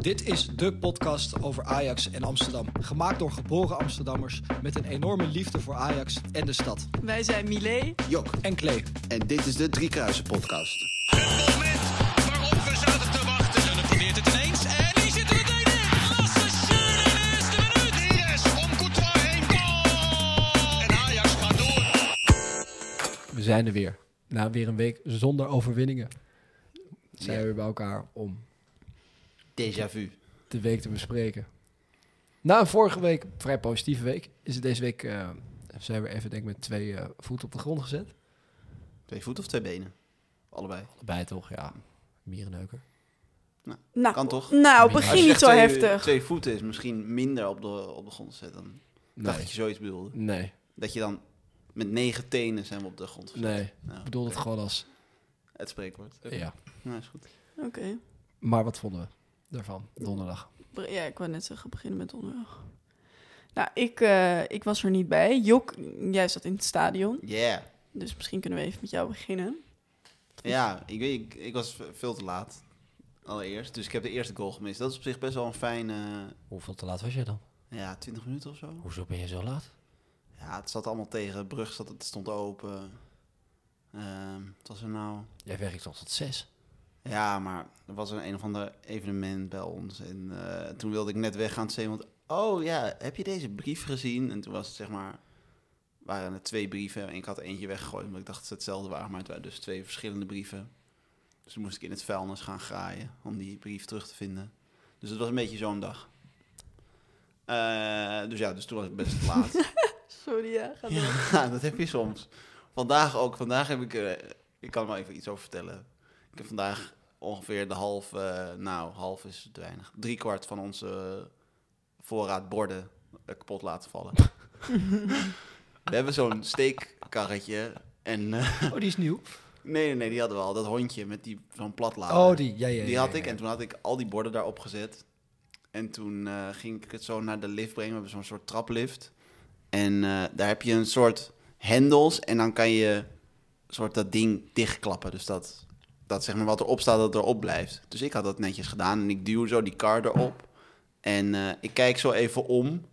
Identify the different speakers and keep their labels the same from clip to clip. Speaker 1: Dit is de podcast over Ajax en Amsterdam. Gemaakt door geboren Amsterdammers met een enorme liefde voor Ajax en de stad.
Speaker 2: Wij zijn Milé.
Speaker 3: Jok.
Speaker 1: En Klee.
Speaker 3: En dit is de Driekruisen podcast.
Speaker 4: Het moment waarop we zaten te wachten. Zullen probeert het ineens. En die zit er meteen in. Lasse Schöne in de eerste minuut. Neres om Courtois heen. Goal! En Ajax gaat door.
Speaker 1: We zijn er weer. Na weer een week zonder overwinningen zijn we weer bij elkaar om
Speaker 3: Déjà vu.
Speaker 1: de week te bespreken. Na een vorige week, vrij positieve week, is het deze week... eh, zijn we even denk ik met twee eh, voeten op de grond gezet.
Speaker 3: Twee voeten of twee benen? Allebei.
Speaker 1: Allebei toch, ja. Mierenneuker.
Speaker 2: Nou,
Speaker 3: Kan toch?
Speaker 2: Nou,
Speaker 3: Als
Speaker 2: begin
Speaker 3: je
Speaker 2: niet
Speaker 3: zegt
Speaker 2: zo
Speaker 3: twee,
Speaker 2: heftig.
Speaker 3: Twee voeten is misschien minder op de, op de grond zetten. Dan dacht
Speaker 1: Nee.
Speaker 3: dat je zoiets bedoelde.
Speaker 1: Nee,
Speaker 3: Dat je dan met negen tenen zijn we op de grond gezet.
Speaker 1: nee.
Speaker 3: Nou,
Speaker 1: Ik bedoel het gewoon als...
Speaker 3: Het spreekwoord.
Speaker 1: Ja.
Speaker 3: Nou, is goed.
Speaker 2: Oké.
Speaker 1: Maar wat vonden we daarvan, donderdag?
Speaker 2: Be- Ja, ik wou net zeggen, beginnen met onderweg. Nou, ik, eh, ik was er niet bij. Jok, jij zat in het stadion.
Speaker 3: Yeah.
Speaker 2: Dus misschien kunnen we even met jou beginnen.
Speaker 3: Ja, ik, weet, ik, ik was v- veel te laat. Allereerst. Dus ik heb de eerste goal gemist. Dat is op zich best wel een fijne...
Speaker 5: Hoeveel te laat was jij dan?
Speaker 3: Ja, 20 minuten of zo.
Speaker 5: Hoezo ben je zo laat?
Speaker 3: Ja, het zat allemaal tegen. Brug zat, het stond open. Ehm wat was er nou?
Speaker 5: Jij werkt toch tot zes?
Speaker 3: Ja, maar er was een, een of ander evenement bij ons. En eh, toen wilde ik net weggaan. Toen zei iemand, oh ja, heb je deze brief gezien? En toen was het zeg maar, waren er twee brieven. En ik had eentje weggegooid, omdat ik dacht dat ze hetzelfde waren. Maar het waren dus twee verschillende brieven. Dus toen moest ik in het vuilnis gaan graaien om die brief terug te vinden. Dus het was een beetje zo'n dag. Eh, dus ja, dus toen was ik best laat.
Speaker 2: Sorry, ja. Ga door.
Speaker 3: Ja, dat heb je soms. Vandaag ook. Vandaag heb ik... eh, ik kan er wel even iets over vertellen. Ik heb vandaag ongeveer de half... eh, nou, half is te weinig. Drie kwart van onze voorraad borden eh, kapot laten vallen. we hebben zo'n steekkarretje. En... eh,
Speaker 1: Oh, die is nieuw.
Speaker 3: nee, nee, nee, die hadden we al. Dat hondje met die, zo'n platlader.
Speaker 5: Ah,
Speaker 1: Oh, die. Ja, ja, ja,
Speaker 3: Die had
Speaker 1: ja,
Speaker 3: ik
Speaker 1: ja.
Speaker 3: en toen had ik al die borden daarop gezet. En toen eh, ging ik het zo naar de lift brengen. We hebben zo'n soort traplift. En eh, daar heb je een soort hendels en dan kan je soort dat ding dichtklappen. Dus dat, dat zeg maar wat erop staat, dat erop blijft. Dus ik had dat netjes gedaan en ik duw zo die kar erop. En eh, ik kijk zo even om.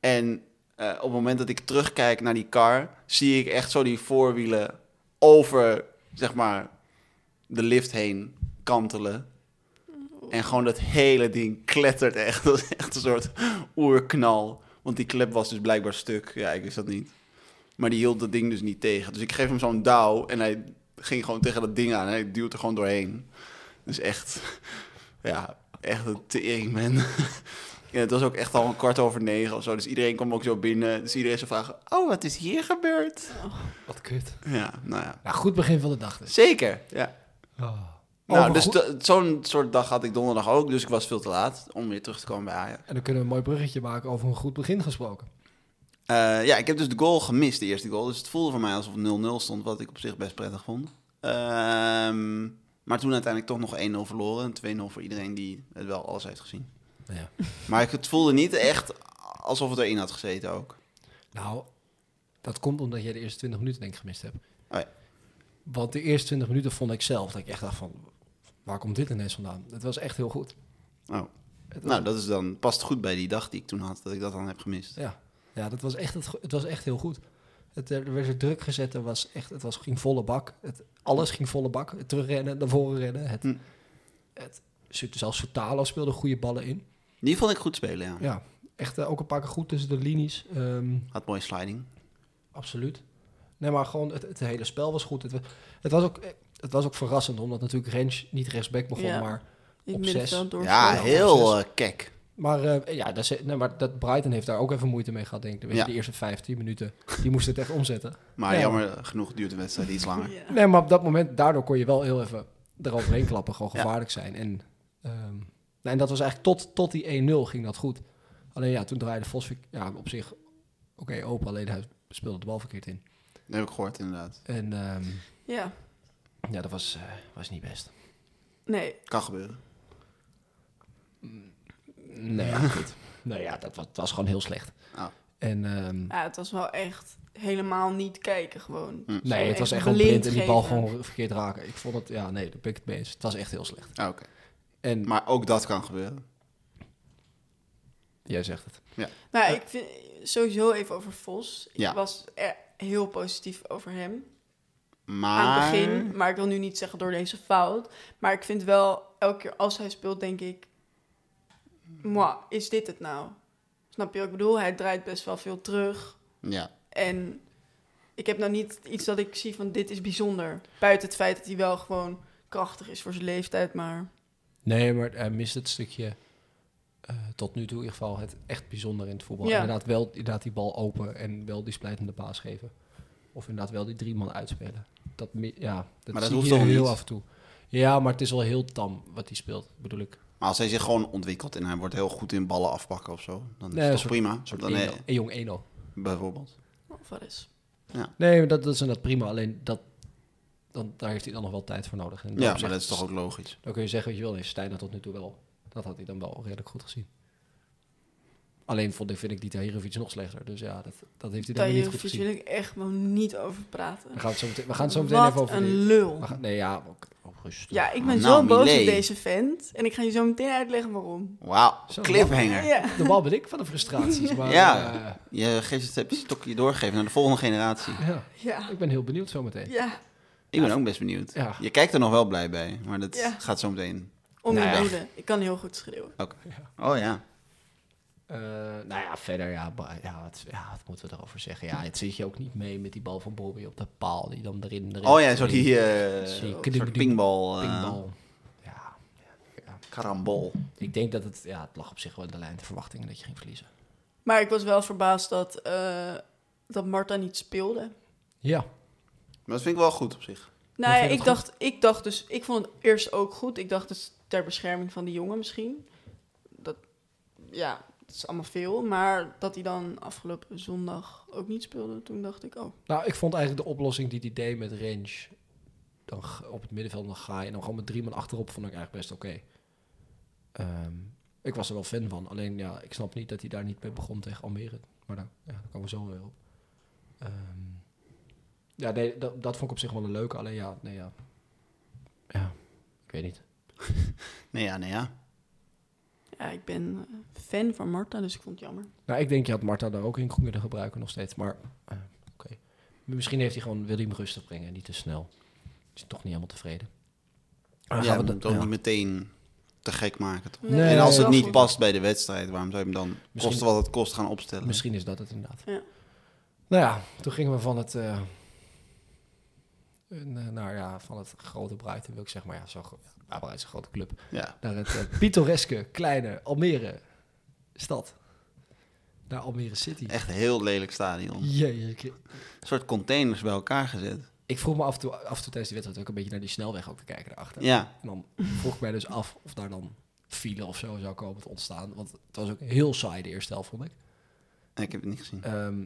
Speaker 3: En eh, op het moment dat ik terugkijk naar die kar, zie ik echt zo die voorwielen over, zeg maar, de lift heen kantelen. En gewoon dat hele ding klettert echt. Dat is echt een soort oerknal. Want die klep was dus blijkbaar stuk. Ja, ik wist dat niet. Maar die hield dat ding dus niet tegen. Dus ik geef hem zo'n douw en hij ging gewoon tegen dat ding aan. En hij duwt er gewoon doorheen. Dus echt, ja, echt een tering, man. Ja, het was ook echt al een kwart over negen of zo. Dus iedereen kwam ook zo binnen. Dus iedereen zou vragen, oh, wat is hier gebeurd?
Speaker 5: Wat kut.
Speaker 3: Ja, nou ja.
Speaker 1: Nou, goed begin van de dag dus.
Speaker 3: Zeker, ja. Nou,
Speaker 1: Oh. Over
Speaker 3: dus
Speaker 1: goed-
Speaker 3: de- zo'n soort dag had ik donderdag ook. Dus ik was veel te laat om weer terug te komen bij Ajax.
Speaker 1: En dan kunnen we een mooi bruggetje maken over een goed begin gesproken.
Speaker 3: Eh, ja, ik heb dus de goal gemist, de eerste goal. Dus het voelde voor mij alsof het 0-0 stond, wat ik op zich best prettig vond. Ehm, maar toen uiteindelijk toch nog 1-0 verloren. En 2-0 voor iedereen die het wel alles heeft gezien.
Speaker 5: Ja.
Speaker 3: Maar ik, het voelde niet echt alsof het erin had gezeten ook.
Speaker 1: Nou, dat komt omdat jij de eerste 20 minuten denk ik gemist hebt.
Speaker 3: Oh ja.
Speaker 1: Want de eerste 20 minuten vond ik zelf dat ik echt dacht van, waar komt dit ineens vandaan? Het was echt heel goed.
Speaker 3: Oh.
Speaker 1: Het was-
Speaker 3: Nou, dat is dan, past goed bij die dag die ik toen had, dat ik dat dan heb gemist.
Speaker 1: ja. ja, dat was echt, het, go- het was echt heel goed. Het, eh, er werd er druk gezet, er was echt, het was, ging volle bak. Het, alles ging volle bak. Het terugrennen, naar voren rennen. Het,
Speaker 3: Hm.
Speaker 1: het, zelfs Soutalo speelde goede ballen in.
Speaker 3: Die vond ik goed spelen, ja.
Speaker 1: Ja, echt eh, ook een paar keer goed tussen de linies. Ehm,
Speaker 3: Had mooie sliding.
Speaker 1: Absoluut. Nee, maar gewoon het, het hele spel was goed. Het, wa- het, was ook, eh, het was ook verrassend, omdat natuurlijk Rens niet rechtsback begon.
Speaker 2: Ja.
Speaker 1: Maar,
Speaker 2: Ik
Speaker 1: Op
Speaker 2: ben
Speaker 1: zes.
Speaker 2: het wel door.
Speaker 3: Ja,
Speaker 1: Vooral
Speaker 3: heel
Speaker 1: proces.
Speaker 3: eh, kek.
Speaker 1: maar, eh, ja, dat, is- nee, maar dat Brighton heeft daar ook even moeite mee gehad, denk ik. Weet je,
Speaker 3: Ja.
Speaker 1: De eerste 15 minuten, die moesten het echt omzetten.
Speaker 3: Maar
Speaker 1: Ja.
Speaker 3: jammer genoeg duurt de wedstrijd iets langer.
Speaker 2: Ja.
Speaker 1: Nee, maar op dat moment, daardoor kon je wel heel even eroverheen klappen. Gewoon
Speaker 3: Ja.
Speaker 1: gevaarlijk zijn. En, ehm, nou, en dat was eigenlijk tot, tot die 1-0 ging dat goed. Alleen ja, toen draaide Vosvik ja, op zich oké open. Alleen hij speelde de bal verkeerd in.
Speaker 3: Dat heb ik gehoord, inderdaad.
Speaker 1: En ehm,
Speaker 2: ja,
Speaker 5: Ja, dat was, eh, was niet best.
Speaker 2: nee.
Speaker 3: Kan gebeuren.
Speaker 1: nou ja, goed. nou ja, dat was, het was gewoon heel slecht.
Speaker 3: Oh.
Speaker 1: En, ehm,
Speaker 2: Ja, het was wel echt helemaal niet kijken gewoon.
Speaker 3: Hm.
Speaker 2: Zo
Speaker 1: nee, het was echt gewoon
Speaker 2: blind
Speaker 1: blind en die bal
Speaker 2: geven.
Speaker 1: gewoon verkeerd raken. Ik vond het, ja, nee, daar ben ik het mee eens. Het was echt heel slecht.
Speaker 3: Ah, oké.
Speaker 1: En
Speaker 3: Maar ook dat kan gebeuren.
Speaker 1: Jij zegt het.
Speaker 2: Nou, ik vind sowieso even over Vos. Ik
Speaker 3: Ja.
Speaker 2: was er heel positief over hem
Speaker 3: Maar...
Speaker 2: aan het begin. Maar ik wil nu niet zeggen door deze fout. Maar ik vind wel, elke keer als hij speelt, denk ik... Mwah, is dit het nou? Snap je wat ik bedoel? Hij draait best wel veel terug.
Speaker 3: Ja.
Speaker 2: En ik heb nou niet iets dat ik zie van dit is bijzonder. Buiten het feit dat hij wel gewoon krachtig is voor zijn leeftijd, maar...
Speaker 1: Nee, maar hij mist het stukje eh, tot nu toe in ieder geval het echt bijzonder in het voetbal.
Speaker 2: Ja.
Speaker 1: Inderdaad, wel inderdaad die bal open en wel die splijtende paas geven. Of inderdaad wel die drie man uitspelen. Dat, mi- ja, dat,
Speaker 3: dat
Speaker 1: zie
Speaker 3: hoeft
Speaker 1: je
Speaker 3: toch
Speaker 1: heel
Speaker 3: niet?
Speaker 1: af en toe. Ja, maar het is wel heel tam wat hij speelt, bedoel ik.
Speaker 3: Maar als hij zich gewoon ontwikkelt en hij wordt heel goed in ballen afpakken of zo, dan is
Speaker 1: Nee,
Speaker 3: het
Speaker 1: een
Speaker 3: toch
Speaker 1: soort-
Speaker 3: prima.
Speaker 1: Een soort
Speaker 3: dan eh,
Speaker 1: Eno, een jong Eno.
Speaker 3: bijvoorbeeld.
Speaker 2: Alvarez.
Speaker 1: Nee, maar dat, dat is inderdaad prima. Alleen dat, dan, daar heeft hij dan nog wel tijd voor nodig. En
Speaker 3: Ja,
Speaker 1: daarom
Speaker 3: maar
Speaker 1: zeg-
Speaker 3: dat is toch ook logisch.
Speaker 1: Dan kun je zeggen wat je wil. Heeft Stijn dat tot nu toe wel. Dat had hij dan wel redelijk goed gezien. Alleen vond ik, vind ik die Tahirovic nog slechter. Dus ja, dat, dat heeft hij dan weer niet goed
Speaker 2: Tajerovic
Speaker 1: gezien.
Speaker 2: wil ik echt gewoon niet over praten.
Speaker 1: We gaan het zo meteen, we gaan het zo meteen even
Speaker 2: Wat
Speaker 1: over...
Speaker 2: een
Speaker 1: die-
Speaker 2: lul.
Speaker 1: we gaan- nee, ja, ook, ook rustig.
Speaker 2: Ja, ik ben
Speaker 3: Nou,
Speaker 2: zo boos
Speaker 3: Millet.
Speaker 2: op deze vent. En ik ga je zo meteen uitleggen waarom.
Speaker 3: Wauw,
Speaker 1: Zo.
Speaker 3: cliffhanger.
Speaker 2: Ja.
Speaker 1: Normaal ben ik van de frustraties, maar...
Speaker 3: Ja.
Speaker 1: eh,
Speaker 3: Je geeft het heb je stokje doorgeven naar de volgende generatie.
Speaker 1: ja,
Speaker 2: Ja.
Speaker 1: ik ben heel benieuwd zo meteen.
Speaker 2: Ja.
Speaker 3: Ik ben ook best benieuwd.
Speaker 1: Ja.
Speaker 3: Je kijkt er nog wel blij bij, maar dat
Speaker 2: Ja.
Speaker 3: gaat zo meteen.
Speaker 2: Om
Speaker 3: Nou ja.
Speaker 2: de woede. Ik kan heel goed schreeuwen.
Speaker 3: Oh ja.
Speaker 1: Eh, nou ja, verder, ja, ba- ja, wat, ja, wat moeten we erover zeggen? Ja, het zit je ook niet mee met die bal van Bobby op de paal, die dan erin... erin
Speaker 3: Oh ja, zo
Speaker 1: erin-
Speaker 3: die eh,
Speaker 1: Zo.
Speaker 3: soort pingbal. eh,
Speaker 1: Pingbal. Ja,
Speaker 3: Karambol.
Speaker 1: ik denk dat het... Ja, het lag op zich wel in de lijn de verwachtingen dat je ging verliezen.
Speaker 2: Maar ik was wel verbaasd dat, eh, dat Marta niet speelde.
Speaker 1: Ja.
Speaker 3: Maar dat vind ik wel goed op zich.
Speaker 2: Nou
Speaker 1: Je
Speaker 2: ja,
Speaker 1: vindt
Speaker 2: ik
Speaker 1: het goed?
Speaker 2: dacht, ik dacht dus... Ik vond het eerst ook goed. Ik dacht, het is ter bescherming van die jongen misschien. Dat, ja, het is allemaal veel. Maar dat hij dan afgelopen zondag ook niet speelde, toen dacht ik, oh.
Speaker 1: Nou, ik vond eigenlijk de oplossing die die deed met range... Dan g- op het middenveld dan ga je en dan gewoon met drie man achterop... vond ik eigenlijk best oké. Ehm, ik was er wel fan van. Alleen ja, ik snap niet dat hij daar niet mee begon tegen Almere. Maar daar, ja, daar komen we zo weer op. Ehm, ja, nee, dat, dat vond ik op zich wel een leuke. Alleen ja, nee ja. Ja, ik weet niet.
Speaker 3: Nee ja, nee ja.
Speaker 2: Ja, ik ben eh, fan van Marta, dus ik vond het jammer.
Speaker 1: Nou, ik denk je had Marta daar ook in kunnen gebruiken nog steeds. Maar eh, oké. Misschien heeft hij gewoon, wil hij hem rustig brengen en niet te snel. Is hij toch niet helemaal tevreden. Dan
Speaker 3: Ah, ja
Speaker 1: gaan we
Speaker 3: we
Speaker 1: dan-
Speaker 3: moet ook
Speaker 1: ja.
Speaker 3: niet meteen te gek maken. Toch?
Speaker 1: Nee,
Speaker 3: en als
Speaker 1: nee,
Speaker 3: het
Speaker 2: wel
Speaker 3: niet
Speaker 2: goed.
Speaker 3: past bij de wedstrijd, waarom zou je hem dan
Speaker 1: Misschien-
Speaker 3: kosten wat het kost gaan opstellen?
Speaker 1: Misschien is dat het inderdaad.
Speaker 2: Ja.
Speaker 1: Nou ja, toen gingen we van het, eh, een, eh, nou ja, van het grote Brighton, wil ik zeggen, maar ja, zo gro- ja, Brighton is een grote club.
Speaker 3: Ja.
Speaker 1: Naar het eh, pittoreske, kleine Almere stad. Naar Almere City.
Speaker 3: Echt een heel lelijk stadion.
Speaker 1: Jeetje.
Speaker 3: Een soort containers bij elkaar gezet.
Speaker 1: Ik vroeg me af en toe, af en toe tijdens die wedstrijd ook een beetje naar die snelweg ook te kijken daarachter.
Speaker 3: Ja,
Speaker 1: En dan vroeg ik mij dus af of daar dan file of zo zou komen te ontstaan. Want het was ook heel saai de eerste helft, vond ik.
Speaker 3: ik heb het niet gezien.
Speaker 1: Ehm,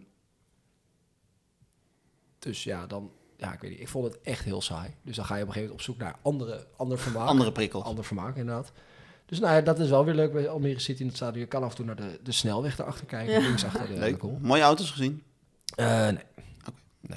Speaker 1: dus ja, dan... Ja, ik weet niet. Ik vond het echt heel saai. Dus dan ga je op een gegeven moment op zoek naar andere, ander vermaak.
Speaker 3: Andere prikkel.
Speaker 1: Ander vermaak, inderdaad. Dus nou ja, dat is wel weer leuk bij Almere City in het stadion. Je kan af en toe naar de, de snelweg daarachter kijken.
Speaker 2: Ja.
Speaker 1: Links achter de, de
Speaker 3: Leuk.
Speaker 1: goal.
Speaker 3: Mooie auto's gezien.
Speaker 1: Eh, nee.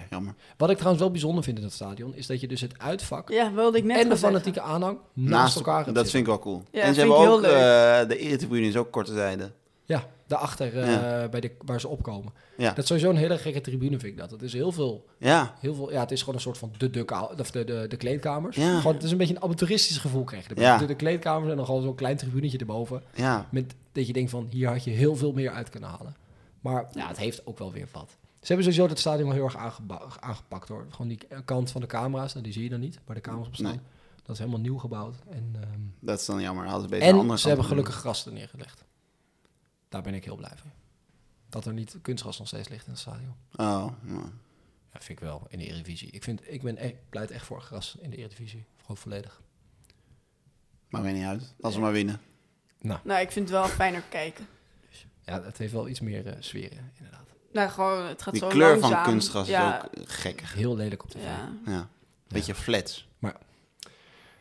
Speaker 3: Jammer.
Speaker 1: Wat ik trouwens wel bijzonder vind in dat stadion... is dat je dus het uitvak
Speaker 2: Ja, wilde ik net
Speaker 1: en de
Speaker 2: gaan zeggen.
Speaker 1: fanatieke aanhang naast, elkaar hebt
Speaker 3: Dat
Speaker 1: zitten.
Speaker 3: vind ik wel cool.
Speaker 2: Ja,
Speaker 3: en
Speaker 2: vind
Speaker 3: ze
Speaker 2: ik
Speaker 3: hebben
Speaker 2: heel
Speaker 3: ook, eh de eretribune is ook korte zijde.
Speaker 1: Ja, daarachter eh, bij de, waar ze opkomen.
Speaker 3: Ja.
Speaker 1: Dat is sowieso een hele gekke tribune, vind ik dat. Het is heel veel,
Speaker 3: Ja,
Speaker 1: heel veel... Ja, het is gewoon een soort van de, de, ka- of de, de, de kleedkamers.
Speaker 3: Ja.
Speaker 1: Gewoon, het is een beetje een amateuristisch gevoel krijg je. erbij.
Speaker 3: Ja.
Speaker 1: De, de kleedkamers en dan gewoon zo'n klein tribunetje erboven.
Speaker 3: ja.
Speaker 1: Met, dat je denkt van, hier had je heel veel meer uit kunnen halen. Maar ja, het heeft ook wel weer wat. Ze hebben sowieso dat stadion wel heel erg aangeba- aangepakt hoor. Gewoon die eh, kant van de camera's, nou, die zie je dan niet, waar de camera's op staan.
Speaker 3: Nee.
Speaker 1: Dat is helemaal nieuw gebouwd. En, ehm,
Speaker 3: Dat is dan jammer. Hadden ze beter een
Speaker 1: en
Speaker 3: andere
Speaker 1: ze hebben
Speaker 3: kant
Speaker 1: gelukkig gras er neergelegd. Daar ben ik heel blij van. Dat er niet kunstgras nog steeds ligt in het stadion.
Speaker 3: doen. Oh, nou.
Speaker 1: Ja, vind ik wel, in de Eredivisie. Ik, vind, ik ben echt, pleit echt voor gras in de Eredivisie. Gewoon volledig.
Speaker 3: maakt mij niet uit. Als we maar winnen.
Speaker 2: Nou, ik vind het wel fijner kijken.
Speaker 1: Ja, het heeft wel iets meer eh, sfeer, eh, inderdaad.
Speaker 2: Nou, gewoon, het gaat
Speaker 3: Die
Speaker 2: zo
Speaker 3: kleur
Speaker 2: langzaam.
Speaker 3: van kunstgras
Speaker 2: ja,
Speaker 3: is ook gekkig.
Speaker 1: Heel lelijk op tv.
Speaker 2: Ja.
Speaker 3: Ja. Beetje flats.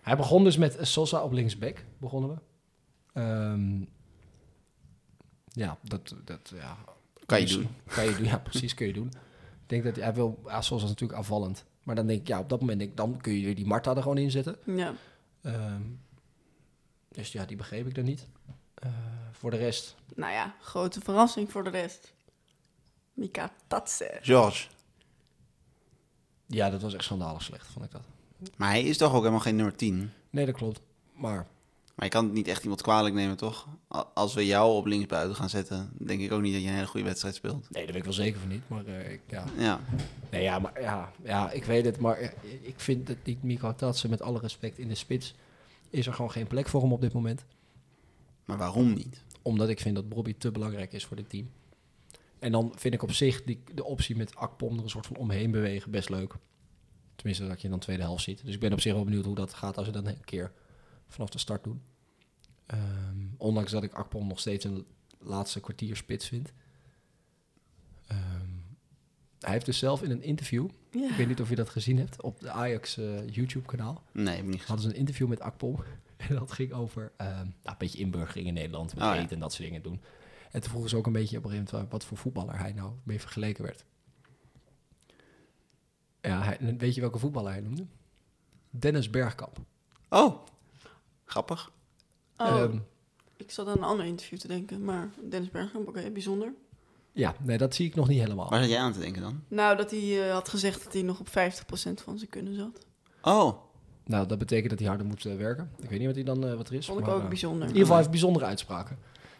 Speaker 1: Hij begon dus met Sosa op linksback, begonnen we. Ehm, ja, dat, dat ja.
Speaker 3: Kan je
Speaker 1: Dus-
Speaker 3: doen.
Speaker 1: Kan je doen, ja, precies kun je doen. Ik denk dat hij wil, ja, Sosa is natuurlijk afvallend. Maar dan denk ik, ja, op dat moment denk ik, dan kun je weer die Marta er gewoon in zetten.
Speaker 2: Ja.
Speaker 1: Ehm, dus ja, die begreep ik dan niet. Eh, voor de rest.
Speaker 2: Nou ja, grote verrassing voor de rest. Mika Tatse.
Speaker 3: George.
Speaker 1: Ja, dat was echt schandalig slecht, vond ik dat.
Speaker 3: Maar hij is toch ook helemaal geen nummer 10?
Speaker 1: Nee, dat klopt. Maar
Speaker 3: Maar je kan het niet echt iemand kwalijk nemen, toch? A- Als we jou op linksbuiten gaan zetten, denk ik ook niet dat je een hele goede wedstrijd speelt.
Speaker 1: nee, daar ben ik wel zeker van niet. Maar eh, ik, ja.
Speaker 3: Ja,
Speaker 1: Nee, ja, maar, ja, ja, ik weet het. Maar eh, ik vind dat niet Mika Tatsen, met alle respect in de spits, is er gewoon geen plek voor hem op dit moment.
Speaker 3: maar waarom niet?
Speaker 1: Omdat ik vind dat Bobby te belangrijk is voor dit team. En dan vind ik op zich die, de optie met Akpom er een soort van omheen bewegen best leuk. Tenminste, dat je dan tweede helft ziet. Dus ik ben op zich wel benieuwd hoe dat gaat als we dat een keer vanaf de start doen. Ehm, ondanks dat ik Akpom nog steeds een laatste kwartier spits vind. Ehm, hij heeft dus zelf in een interview, ik
Speaker 2: Ja.
Speaker 1: weet niet of je dat gezien hebt, op de Ajax eh, YouTube-kanaal
Speaker 3: Nee, heb ik niet gezien.
Speaker 1: hadden ze een interview met Akpom. En dat ging over ehm, nou, een beetje inburgering in Nederland. Met
Speaker 3: Oh, ja.
Speaker 1: eten en dat soort dingen doen. En toen vroegen ze ook een beetje op een gegeven moment... wat voor voetballer hij nou mee vergeleken werd. Ja, hij, en weet je welke voetballer hij noemde? Dennis Bergkamp.
Speaker 3: Oh, grappig.
Speaker 2: Oh,
Speaker 1: Ehm,
Speaker 2: ik zat aan een ander interview te denken, maar Dennis Bergkamp, oké, bijzonder.
Speaker 1: ja, nee, dat zie ik nog niet helemaal.
Speaker 3: Waar zat jij aan te denken dan?
Speaker 2: Nou, dat hij eh, had gezegd dat hij nog op 50% van zijn kunnen zat.
Speaker 3: Oh,
Speaker 1: Nou, dat betekent dat hij harder moet eh, werken. Ik weet niet wat, hij dan, eh, wat er is.
Speaker 2: Vond ik
Speaker 1: maar,
Speaker 2: ook
Speaker 1: eh,
Speaker 2: bijzonder.
Speaker 1: In ieder geval, hij heeft bijzondere uitspraken.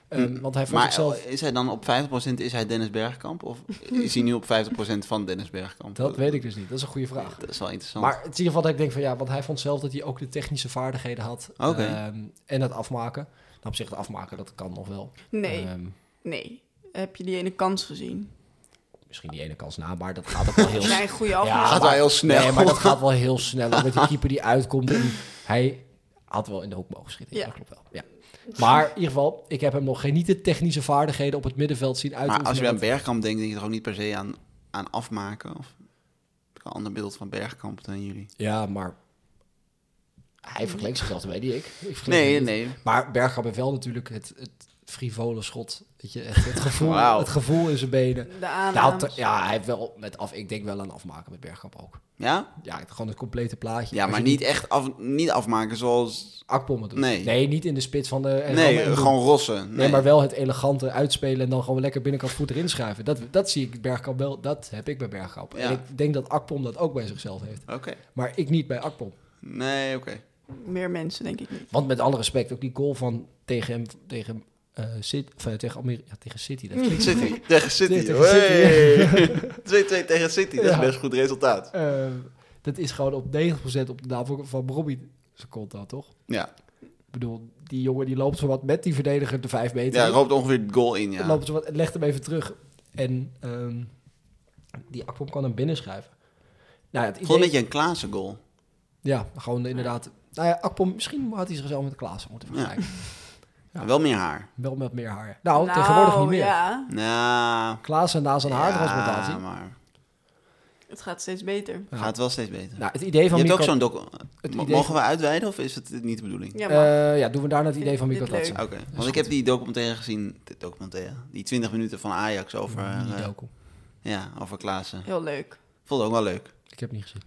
Speaker 1: Ehm, want hij vond
Speaker 3: Hm. maar eh,
Speaker 1: zichzelf...
Speaker 3: is hij dan op 50% is hij Dennis Bergkamp? Of is hij nu op 50% van Dennis Bergkamp?
Speaker 1: Dat weet ik dus niet. Dat is een goede vraag.
Speaker 3: Dat is wel interessant.
Speaker 1: Maar het is in ieder geval dat ik denk van ja, want hij vond zelf dat hij ook de technische vaardigheden had.
Speaker 3: Oké.
Speaker 1: Ehm, en het afmaken. Nou, op zich het afmaken, dat kan nog wel.
Speaker 2: Nee,
Speaker 1: Ehm,
Speaker 2: nee. Heb je die ene kans gezien?
Speaker 1: misschien die ene kans na, maar dat gaat ook wel heel
Speaker 2: Zijn
Speaker 1: snel.
Speaker 2: goede
Speaker 1: Ja,
Speaker 2: afmaak.
Speaker 3: gaat wel heel snel.
Speaker 1: Nee, maar dat gaat wel heel snel. ook Met die keeper die uitkomt. En hij had wel in de hoek mogen schieten. Ja,
Speaker 2: Ja.
Speaker 1: dat klopt wel. Ja. Maar in ieder geval, ik heb hem nog geen niet de technische vaardigheden op het middenveld zien
Speaker 3: Maar
Speaker 1: uitoefenen.
Speaker 3: als je aan
Speaker 1: Dat-
Speaker 3: Bergkamp denkt, denk je toch ook niet per se aan, aan afmaken? Of heb ik een ander beeld van Bergkamp dan jullie?
Speaker 1: Ja, maar hij vergeleek zichzelf, dat weet ik. ik vergeleek hem
Speaker 3: Nee,
Speaker 1: niet.
Speaker 3: nee.
Speaker 1: Maar Bergkamp heeft wel natuurlijk het, het frivole schot. Weet je, het, het gevoel,
Speaker 3: Wauw.
Speaker 1: het gevoel in zijn benen.
Speaker 2: De aannames.
Speaker 1: Nou, te- ja, hij heeft wel met af. Ik denk wel aan afmaken met Bergkamp ook.
Speaker 3: Ja?
Speaker 1: Ja, het- gewoon het complete plaatje.
Speaker 3: Ja,
Speaker 1: Als
Speaker 3: maar
Speaker 1: je
Speaker 3: niet echt af, niet afmaken zoals...
Speaker 1: Akpom het doet.
Speaker 3: Nee.
Speaker 1: nee, niet in de spits van de. en
Speaker 3: Nee, eh,
Speaker 1: dan- en-
Speaker 3: gewoon rossen. Nee,
Speaker 1: Nee, maar wel het elegante uitspelen en dan gewoon lekker binnenkant voet erin schuiven. Dat, dat zie ik Bergkamp wel. Dat heb ik bij Bergkamp. En
Speaker 3: Ja.
Speaker 1: ik denk dat Akpom dat ook bij zichzelf heeft.
Speaker 3: Oké.
Speaker 1: Maar ik niet bij Akpom.
Speaker 3: Nee, oké.
Speaker 2: Meer mensen, denk ik niet.
Speaker 1: Want met alle respect, ook die goal van tegen hem, tegen, eh City, of, eh, tegen, Ameri- ja, tegen City. Dat klinkt-
Speaker 3: City. Tegen City.
Speaker 1: Tegen
Speaker 3: Hey. 2-2 tegen City. Dat is
Speaker 1: Ja.
Speaker 3: best een goed resultaat.
Speaker 1: Eh, dat is gewoon op 90% op de naam van- van Robbie zijn kont dan, toch?
Speaker 3: Ja.
Speaker 1: Ik bedoel, die jongen die loopt zo wat met die verdediger de 5 meter.
Speaker 3: Ja,
Speaker 1: in.
Speaker 3: roopt ongeveer het goal in,
Speaker 1: En
Speaker 3: ja.
Speaker 1: loopt zo wat, en legt hem even terug. En ehm, die Akpom kan hem binnenschuiven. Nou, ja, het idee,
Speaker 3: Gewoon een beetje een Klaassen goal.
Speaker 1: Ja, gewoon inderdaad. Nou ja, Akpom, misschien had hij zichzelf met Klaassen moeten vergelijken. Ja.
Speaker 3: Wel meer haar.
Speaker 1: Wel met meer haar. Nou, tegenwoordig niet meer.
Speaker 2: ja.
Speaker 3: Nou...
Speaker 1: Klaassen na zijn haartransplantatie.
Speaker 3: Ja, maar
Speaker 2: Het gaat steeds beter.
Speaker 1: Ja.
Speaker 3: gaat wel steeds beter.
Speaker 1: Nou, het idee
Speaker 3: je
Speaker 1: van
Speaker 3: hebt ook
Speaker 1: Mikko-
Speaker 3: zo'n docu...
Speaker 1: het
Speaker 3: Mo-
Speaker 1: idee
Speaker 3: Mogen
Speaker 1: van-
Speaker 3: we uitweiden of is het niet de bedoeling?
Speaker 2: Ja, maar
Speaker 1: Eh, ja, doen we daarna het idee van
Speaker 2: Dit-
Speaker 1: Mikko
Speaker 2: dit leuk.
Speaker 1: Glatsen.
Speaker 3: Oké, want ik heb die documentaire gezien, dit documentaire, die 20 minuten van Ajax over,
Speaker 1: Die
Speaker 3: eh,
Speaker 1: docu.
Speaker 3: ja, over
Speaker 1: Eh,
Speaker 3: Klaassen.
Speaker 2: heel leuk.
Speaker 3: Vond het ook wel leuk.
Speaker 1: Ik heb het niet gezien.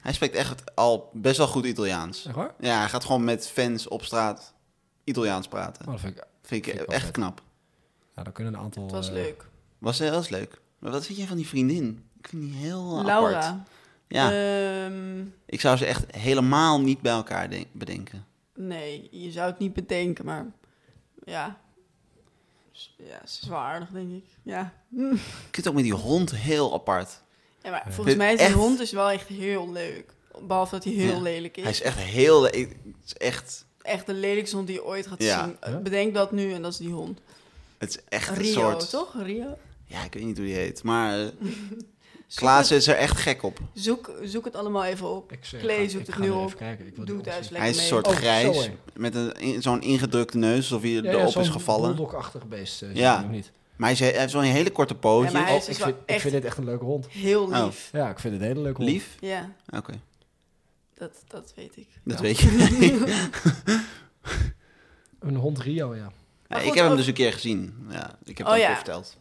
Speaker 3: Hij spreekt echt al best wel goed Italiaans.
Speaker 1: Echt waar?
Speaker 3: Ja, hij gaat gewoon met fans op straat Italiaans praten.
Speaker 1: Oh, dat vind ik,
Speaker 3: Vind ik
Speaker 1: vind ik wel
Speaker 3: echt
Speaker 1: vet.
Speaker 3: knap.
Speaker 1: nou, dan kunnen een aantal...
Speaker 2: Het was
Speaker 1: eh,
Speaker 2: leuk.
Speaker 3: Was heel was leuk. Maar wat vind jij van die vriendin? Ik vind die heel eh, apart.
Speaker 2: Laura.
Speaker 3: Ja,
Speaker 2: Ehm,
Speaker 3: ik zou ze echt helemaal niet bij elkaar denk- bedenken.
Speaker 2: nee, je zou het niet bedenken, maar ja. S- Ja, ze is wel aardig, denk ik. Ja.
Speaker 3: Ik vind het ook met die hond heel apart.
Speaker 2: ja maar volgens mij is
Speaker 3: Echt?
Speaker 2: die hond dus wel echt heel leuk. Behalve dat hij heel
Speaker 3: Ja.
Speaker 2: lelijk is.
Speaker 3: Hij is echt heel... le- ik- het is echt...
Speaker 2: Echt de lelijkste hond die je ooit gaat
Speaker 3: Ja.
Speaker 2: zien.
Speaker 1: Ja.
Speaker 2: Bedenk dat nu en dat is die hond.
Speaker 3: Het is echt
Speaker 2: Rio,
Speaker 3: een soort...
Speaker 2: toch? Rio?
Speaker 3: Ja, ik weet niet hoe die heet. Maar eh,
Speaker 2: Zoek
Speaker 3: Klaas is er echt gek op.
Speaker 2: het- Zoek, zoek het allemaal even op.
Speaker 1: Ik, zeg,
Speaker 2: Klee
Speaker 1: ik
Speaker 2: zoekt
Speaker 1: ga
Speaker 2: het nu
Speaker 1: er even
Speaker 2: op.
Speaker 1: kijken. Ik wil
Speaker 2: Doe
Speaker 1: die
Speaker 2: het
Speaker 1: ook zien.
Speaker 2: thuis lekker
Speaker 3: Hij is een
Speaker 2: mee.
Speaker 3: soort
Speaker 1: Oh, zo,
Speaker 3: grijs,
Speaker 1: hè.
Speaker 3: met een, in- zo'n ingedrukte neus, alsof hij
Speaker 1: Ja,
Speaker 3: erop
Speaker 1: zo'n
Speaker 3: is gevallen.
Speaker 1: bulldog-achtig beest. eh, zie
Speaker 3: Ja.
Speaker 1: ik nog niet.
Speaker 3: Maar hij, is, hij heeft zo'n hele korte pootje.
Speaker 2: Ja, maar hij is
Speaker 1: Oh,
Speaker 2: dus
Speaker 1: ik,
Speaker 2: wel
Speaker 1: vind, ik
Speaker 2: echt
Speaker 1: vind dit echt een leuke hond.
Speaker 2: heel
Speaker 3: Oh.
Speaker 2: lief.
Speaker 1: Ja, ik vind het een hele leuke hond.
Speaker 3: Lief?
Speaker 2: Ja,
Speaker 3: Oké,
Speaker 2: dat, dat weet ik.
Speaker 3: dat
Speaker 1: Ja.
Speaker 3: weet je.
Speaker 1: Een hond Rio, ja.
Speaker 3: Ja,
Speaker 2: Maar
Speaker 3: ik
Speaker 2: goed,
Speaker 3: heb hem
Speaker 2: ook-
Speaker 3: dus een keer gezien. Ja, ik heb
Speaker 2: Oh,
Speaker 3: het ook
Speaker 2: ja.
Speaker 3: al verteld.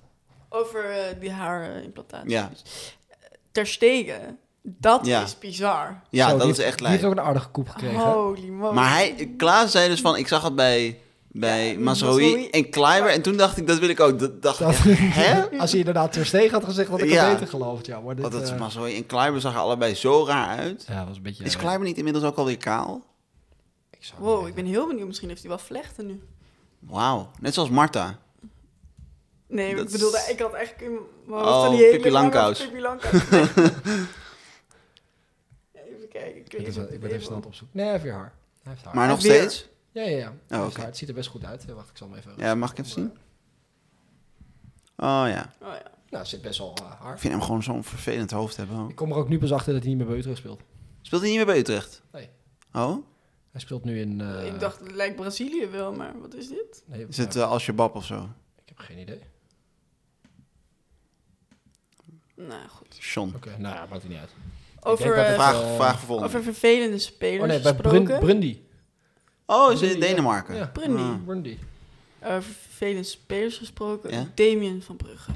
Speaker 2: Over eh, die haarimplantatie.
Speaker 3: Ja,
Speaker 2: Ter Stegen, dat
Speaker 3: Ja.
Speaker 2: is bizar.
Speaker 3: ja
Speaker 1: Zo,
Speaker 3: dat
Speaker 1: die
Speaker 3: is
Speaker 1: heeft-
Speaker 3: echt
Speaker 1: Die heeft
Speaker 3: lijp.
Speaker 2: Oh.
Speaker 1: ook een aardige koep gekregen. hè?
Speaker 2: Holy moly.
Speaker 3: Maar hij, Klaas zei dus van, ik zag het bij bij
Speaker 2: Ja,
Speaker 3: Mazraoui
Speaker 2: Mazraoui.
Speaker 3: en Kleiber. En toen dacht ik, dat wil ik ook. Dat dacht
Speaker 1: Dat-
Speaker 3: ik, hè?
Speaker 1: Als je inderdaad Ter Stegen had gezegd, had ik
Speaker 3: Ja.
Speaker 1: het beter geloofd. Ja, maar dit,
Speaker 3: Want dat is
Speaker 1: eh,
Speaker 3: Mazraoui en Kleiber zagen er allebei zo raar uit.
Speaker 1: ja, was een beetje... eh,
Speaker 3: Is Kleiber niet inmiddels ook alweer kaal?
Speaker 1: Ik zou
Speaker 2: Wow, ik
Speaker 1: niet
Speaker 2: ben heel benieuwd. Misschien heeft hij wel vlechten nu.
Speaker 3: Wauw, net zoals Marta.
Speaker 2: Nee,
Speaker 3: Dat
Speaker 2: ik
Speaker 3: is-
Speaker 2: bedoelde, ik had echt in mijn
Speaker 3: Oh,
Speaker 2: hoofd van die hele
Speaker 3: Pippi
Speaker 2: lange
Speaker 3: Langkous.
Speaker 2: Pippi Langkous. even kijken. Ik, weet
Speaker 1: weten.
Speaker 2: niet
Speaker 1: Ik
Speaker 2: of
Speaker 1: ben, ik ben
Speaker 2: het
Speaker 1: even snel aan het opzoeken. Nee, hij heeft weer haar. Hij heeft haar.
Speaker 3: Maar nog
Speaker 2: Weer.
Speaker 3: steeds?
Speaker 1: ja, ja, ja. Hij heeft
Speaker 3: oké.
Speaker 1: haar. Het ziet er best goed uit. Eh, Wacht, ik zal hem even...
Speaker 3: Ja, mag ik even zien? Oh ja.
Speaker 2: Oh ja.
Speaker 1: Nou, het zit best wel eh,
Speaker 3: Ik
Speaker 1: haar.
Speaker 3: vind hem gewoon zo'n vervelend hoofd hebben. hoor.
Speaker 1: Ik kom er ook nu pas achter dat hij niet meer bij Utrecht speelt.
Speaker 3: Speelt hij niet meer bij Utrecht?
Speaker 1: Nee.
Speaker 3: Oh?
Speaker 1: Hij speelt nu in... eh,
Speaker 2: ik dacht, het lijkt Brazilië wel, maar wat is dit?
Speaker 1: nee,
Speaker 3: Is het
Speaker 1: nou,
Speaker 3: eh, Al-Shabaab of zo?
Speaker 1: Ik heb geen idee.
Speaker 2: Nou, goed.
Speaker 3: Sean.
Speaker 1: Oké, nou ja, maakt het niet uit.
Speaker 2: Over,
Speaker 1: dat het
Speaker 2: eh,
Speaker 1: waar-
Speaker 3: Vraag,
Speaker 1: eh,
Speaker 3: vraag voor volgende.
Speaker 2: over vervelende
Speaker 1: Oh
Speaker 2: spelers
Speaker 1: nee, bij
Speaker 2: gesproken.
Speaker 1: Brun, Brundy.
Speaker 3: Oh, is
Speaker 1: Brundy,
Speaker 3: het
Speaker 1: ja.
Speaker 3: in Denemarken?
Speaker 1: Ja,
Speaker 2: Brundy.
Speaker 3: Ah.
Speaker 1: Brundy.
Speaker 2: Over vervelende spelers gesproken.
Speaker 3: Ja?
Speaker 2: Damien van Brugge.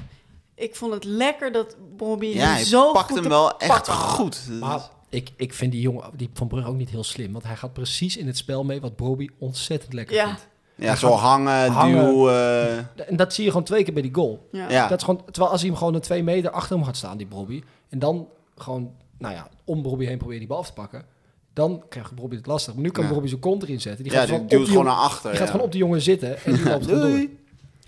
Speaker 2: Ik vond het lekker dat Bobby
Speaker 3: Ja, hij
Speaker 2: zo
Speaker 3: pakt
Speaker 2: goed
Speaker 3: hem
Speaker 2: te
Speaker 3: wel echt
Speaker 2: pakken had.
Speaker 3: goed.
Speaker 1: Maar ik, ik vind die jongen die van Brugge ook niet heel slim. Want hij gaat precies in het spel mee wat Broby ontzettend lekker
Speaker 2: Ja.
Speaker 1: vindt.
Speaker 3: Ja, zo hangen,
Speaker 1: Hangen.
Speaker 3: duwen. eh,
Speaker 1: En dat zie je gewoon twee keer bij die goal.
Speaker 2: Ja.
Speaker 3: ja.
Speaker 1: Dat is gewoon, terwijl als hij hem gewoon een twee meter achter hem had staan, die Broby. En dan gewoon, nou ja, om Broby heen proberen die bal af te pakken. Dan krijgt Broby het lastig. Maar nu kan
Speaker 3: Ja.
Speaker 1: Broby zijn kont erin zetten. Die
Speaker 3: ja,
Speaker 1: gaat,
Speaker 3: die
Speaker 1: gewoon,
Speaker 3: duwt
Speaker 1: op
Speaker 3: gewoon
Speaker 1: jongen-
Speaker 3: naar
Speaker 1: die
Speaker 3: achter. eh, ja.
Speaker 1: gaat gewoon op die jongen zitten. En die loopt gewoon door.
Speaker 3: Doei.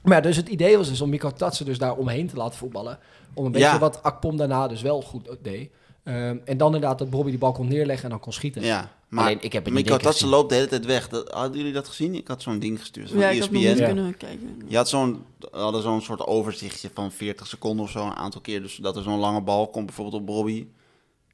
Speaker 1: Maar ja, dus het idee was dus om Mika Tatsen dus daar omheen te laten voetballen. Om een beetje
Speaker 3: Ja.
Speaker 1: wat Akpom daarna dus wel goed deed. Ehm, en dan inderdaad dat Broby die bal kon neerleggen en dan kon schieten.
Speaker 3: Ja, maar
Speaker 1: Alleen, ik heb het
Speaker 3: maar
Speaker 1: niet
Speaker 3: had
Speaker 1: keer
Speaker 3: dat ze
Speaker 1: gezien.
Speaker 3: loopt de hele tijd weg. Dat, hadden jullie dat gezien? Ik had zo'n ding gestuurd dus van E
Speaker 2: Ja, ik had nog niet
Speaker 3: ESPN.
Speaker 1: Ja.
Speaker 2: kunnen kijken.
Speaker 3: Je had zo'n, hadden zo'n soort overzichtje van 40 seconden of zo een aantal keer. Dus dat er zo'n lange bal komt bijvoorbeeld op Robbie.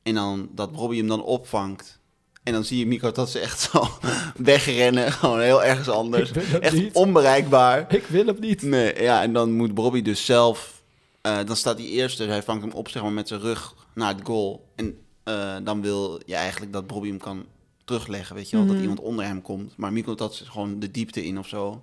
Speaker 3: En dan dat Robbie hem dan opvangt. En dan zie je Miko dat ze echt zo wegrennen. Gewoon heel ergens anders.
Speaker 1: Ik wil dat
Speaker 3: Echt
Speaker 1: niet.
Speaker 3: onbereikbaar.
Speaker 1: Ik wil hem niet.
Speaker 3: Nee, ja, en dan moet Robbie dus zelf... eh, dan staat hij eerst, dus hij vangt hem op zeg maar, met zijn rug naar het goal. En eh, dan wil je eigenlijk dat Robbie hem kan terugleggen. Weet je wel, dat iemand onder hem komt. Maar Miko dat is gewoon de diepte in of zo.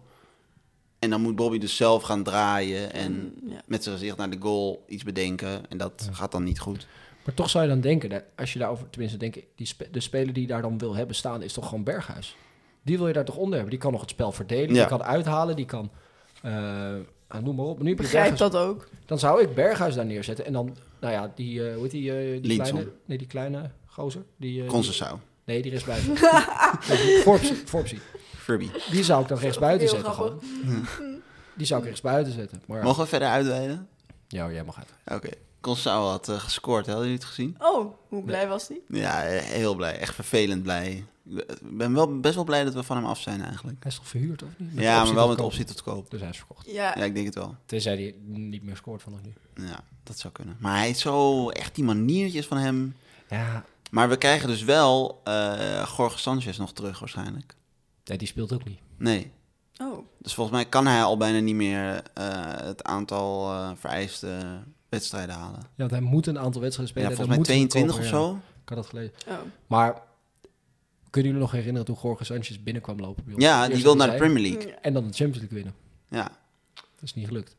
Speaker 3: En dan moet Bobby dus zelf gaan draaien en
Speaker 2: ja.
Speaker 3: met zijn gezicht naar de goal iets bedenken. En dat gaat dan niet goed.
Speaker 1: Maar toch zou je dan denken, dat als je daarover, tenminste denken, die spe- de speler die je daar dan wil hebben staan, is toch gewoon Berghuis. Die wil je daar toch onder hebben. Die kan nog het spel verdelen,
Speaker 3: Ja.
Speaker 1: die kan uithalen, die kan, eh, ah, noem maar op. Maar nu
Speaker 2: Ik
Speaker 1: heb je
Speaker 2: begrijp
Speaker 1: Berghuis-
Speaker 2: dat ook.
Speaker 1: Dan zou ik Berghuis daar neerzetten en dan, nou ja, die, eh hoe heet die, eh, die
Speaker 3: Linson.
Speaker 1: kleine, nee die kleine gozer, die, eh, die-
Speaker 3: Concessao,
Speaker 1: nee die rechts buiten. Forbes, Forbes.
Speaker 3: Furby.
Speaker 1: Die zou ik dan rechts buiten
Speaker 2: Heel
Speaker 1: zetten gewoon.
Speaker 3: Hm.
Speaker 1: Die zou ik rechts buiten zetten. Maar
Speaker 3: Mogen we verder uitweiden?
Speaker 1: ja, oh, jij mag uit.
Speaker 3: Oké. Concessao had eh, gescoord, hè? hadden jullie het gezien?
Speaker 2: Oh, hoe blij was die?
Speaker 3: Ja, eh, heel blij. Echt vervelend blij. Ik ben wel best wel blij dat we van hem af zijn eigenlijk.
Speaker 1: Hij is toch verhuurd of niet? Met
Speaker 3: ja, maar
Speaker 1: optie
Speaker 3: wel
Speaker 1: tot
Speaker 3: met
Speaker 1: koop.
Speaker 3: optie tot koop.
Speaker 1: Dus hij is verkocht.
Speaker 2: Ja,
Speaker 3: Ja, ik denk het wel.
Speaker 1: Tenzij hij niet meer scoort vanaf nu.
Speaker 3: Ja, dat zou kunnen. Maar hij is zo... Echt die maniertjes van hem.
Speaker 1: Ja,
Speaker 3: Maar we krijgen dus wel eh Jorge Sanchez nog terug waarschijnlijk.
Speaker 1: nee, die speelt ook niet.
Speaker 3: Nee.
Speaker 2: oh,
Speaker 3: Dus volgens mij kan hij al bijna niet meer eh, het aantal eh, vereiste wedstrijden halen.
Speaker 1: Ja, want hij moet een aantal wedstrijden
Speaker 3: Ja,
Speaker 1: spelen.
Speaker 3: volgens
Speaker 1: Dan
Speaker 3: mij
Speaker 1: moet hij
Speaker 3: 22 of
Speaker 1: komen, ja.
Speaker 3: zo.
Speaker 1: Ik had dat gelezen.
Speaker 2: oh.
Speaker 1: Maar kunnen jullie nog herinneren toen Jorge Sanchez binnenkwam lopen? bij ons?
Speaker 3: Ja,
Speaker 1: Eerst
Speaker 3: die wil naar de
Speaker 1: zei,
Speaker 3: Premier League.
Speaker 1: En dan de Champions League winnen.
Speaker 3: Ja.
Speaker 1: Dat is niet gelukt.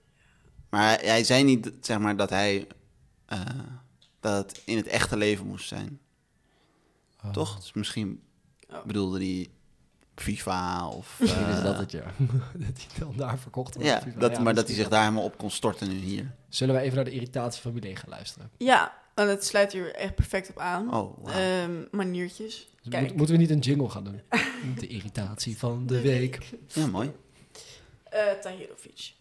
Speaker 3: Maar hij, hij zei niet zeg maar, dat hij eh, dat het in het echte leven moest zijn.
Speaker 1: Ah.
Speaker 3: Toch? Dus misschien
Speaker 2: Oh.
Speaker 3: bedoelde hij FIFA of...
Speaker 1: Misschien is
Speaker 3: eh,
Speaker 1: dat het, ja. dat hij dan daar verkocht wordt.
Speaker 3: Ja,
Speaker 1: Misschien wel,
Speaker 3: dat, maar dat hij
Speaker 1: misschien.
Speaker 3: zich daar helemaal op kon storten nu hier.
Speaker 1: Zullen we even naar de irritatie van Milé gaan luisteren?
Speaker 2: Ja, en dat sluit hier echt perfect op aan.
Speaker 3: Oh, wauw.
Speaker 2: Ehm, maniertjes.
Speaker 1: Dus
Speaker 2: Kijk.
Speaker 1: moet- moeten we niet een jingle gaan doen? De irritatie van de week.
Speaker 3: Ja, mooi.
Speaker 2: Eh Tahirovic.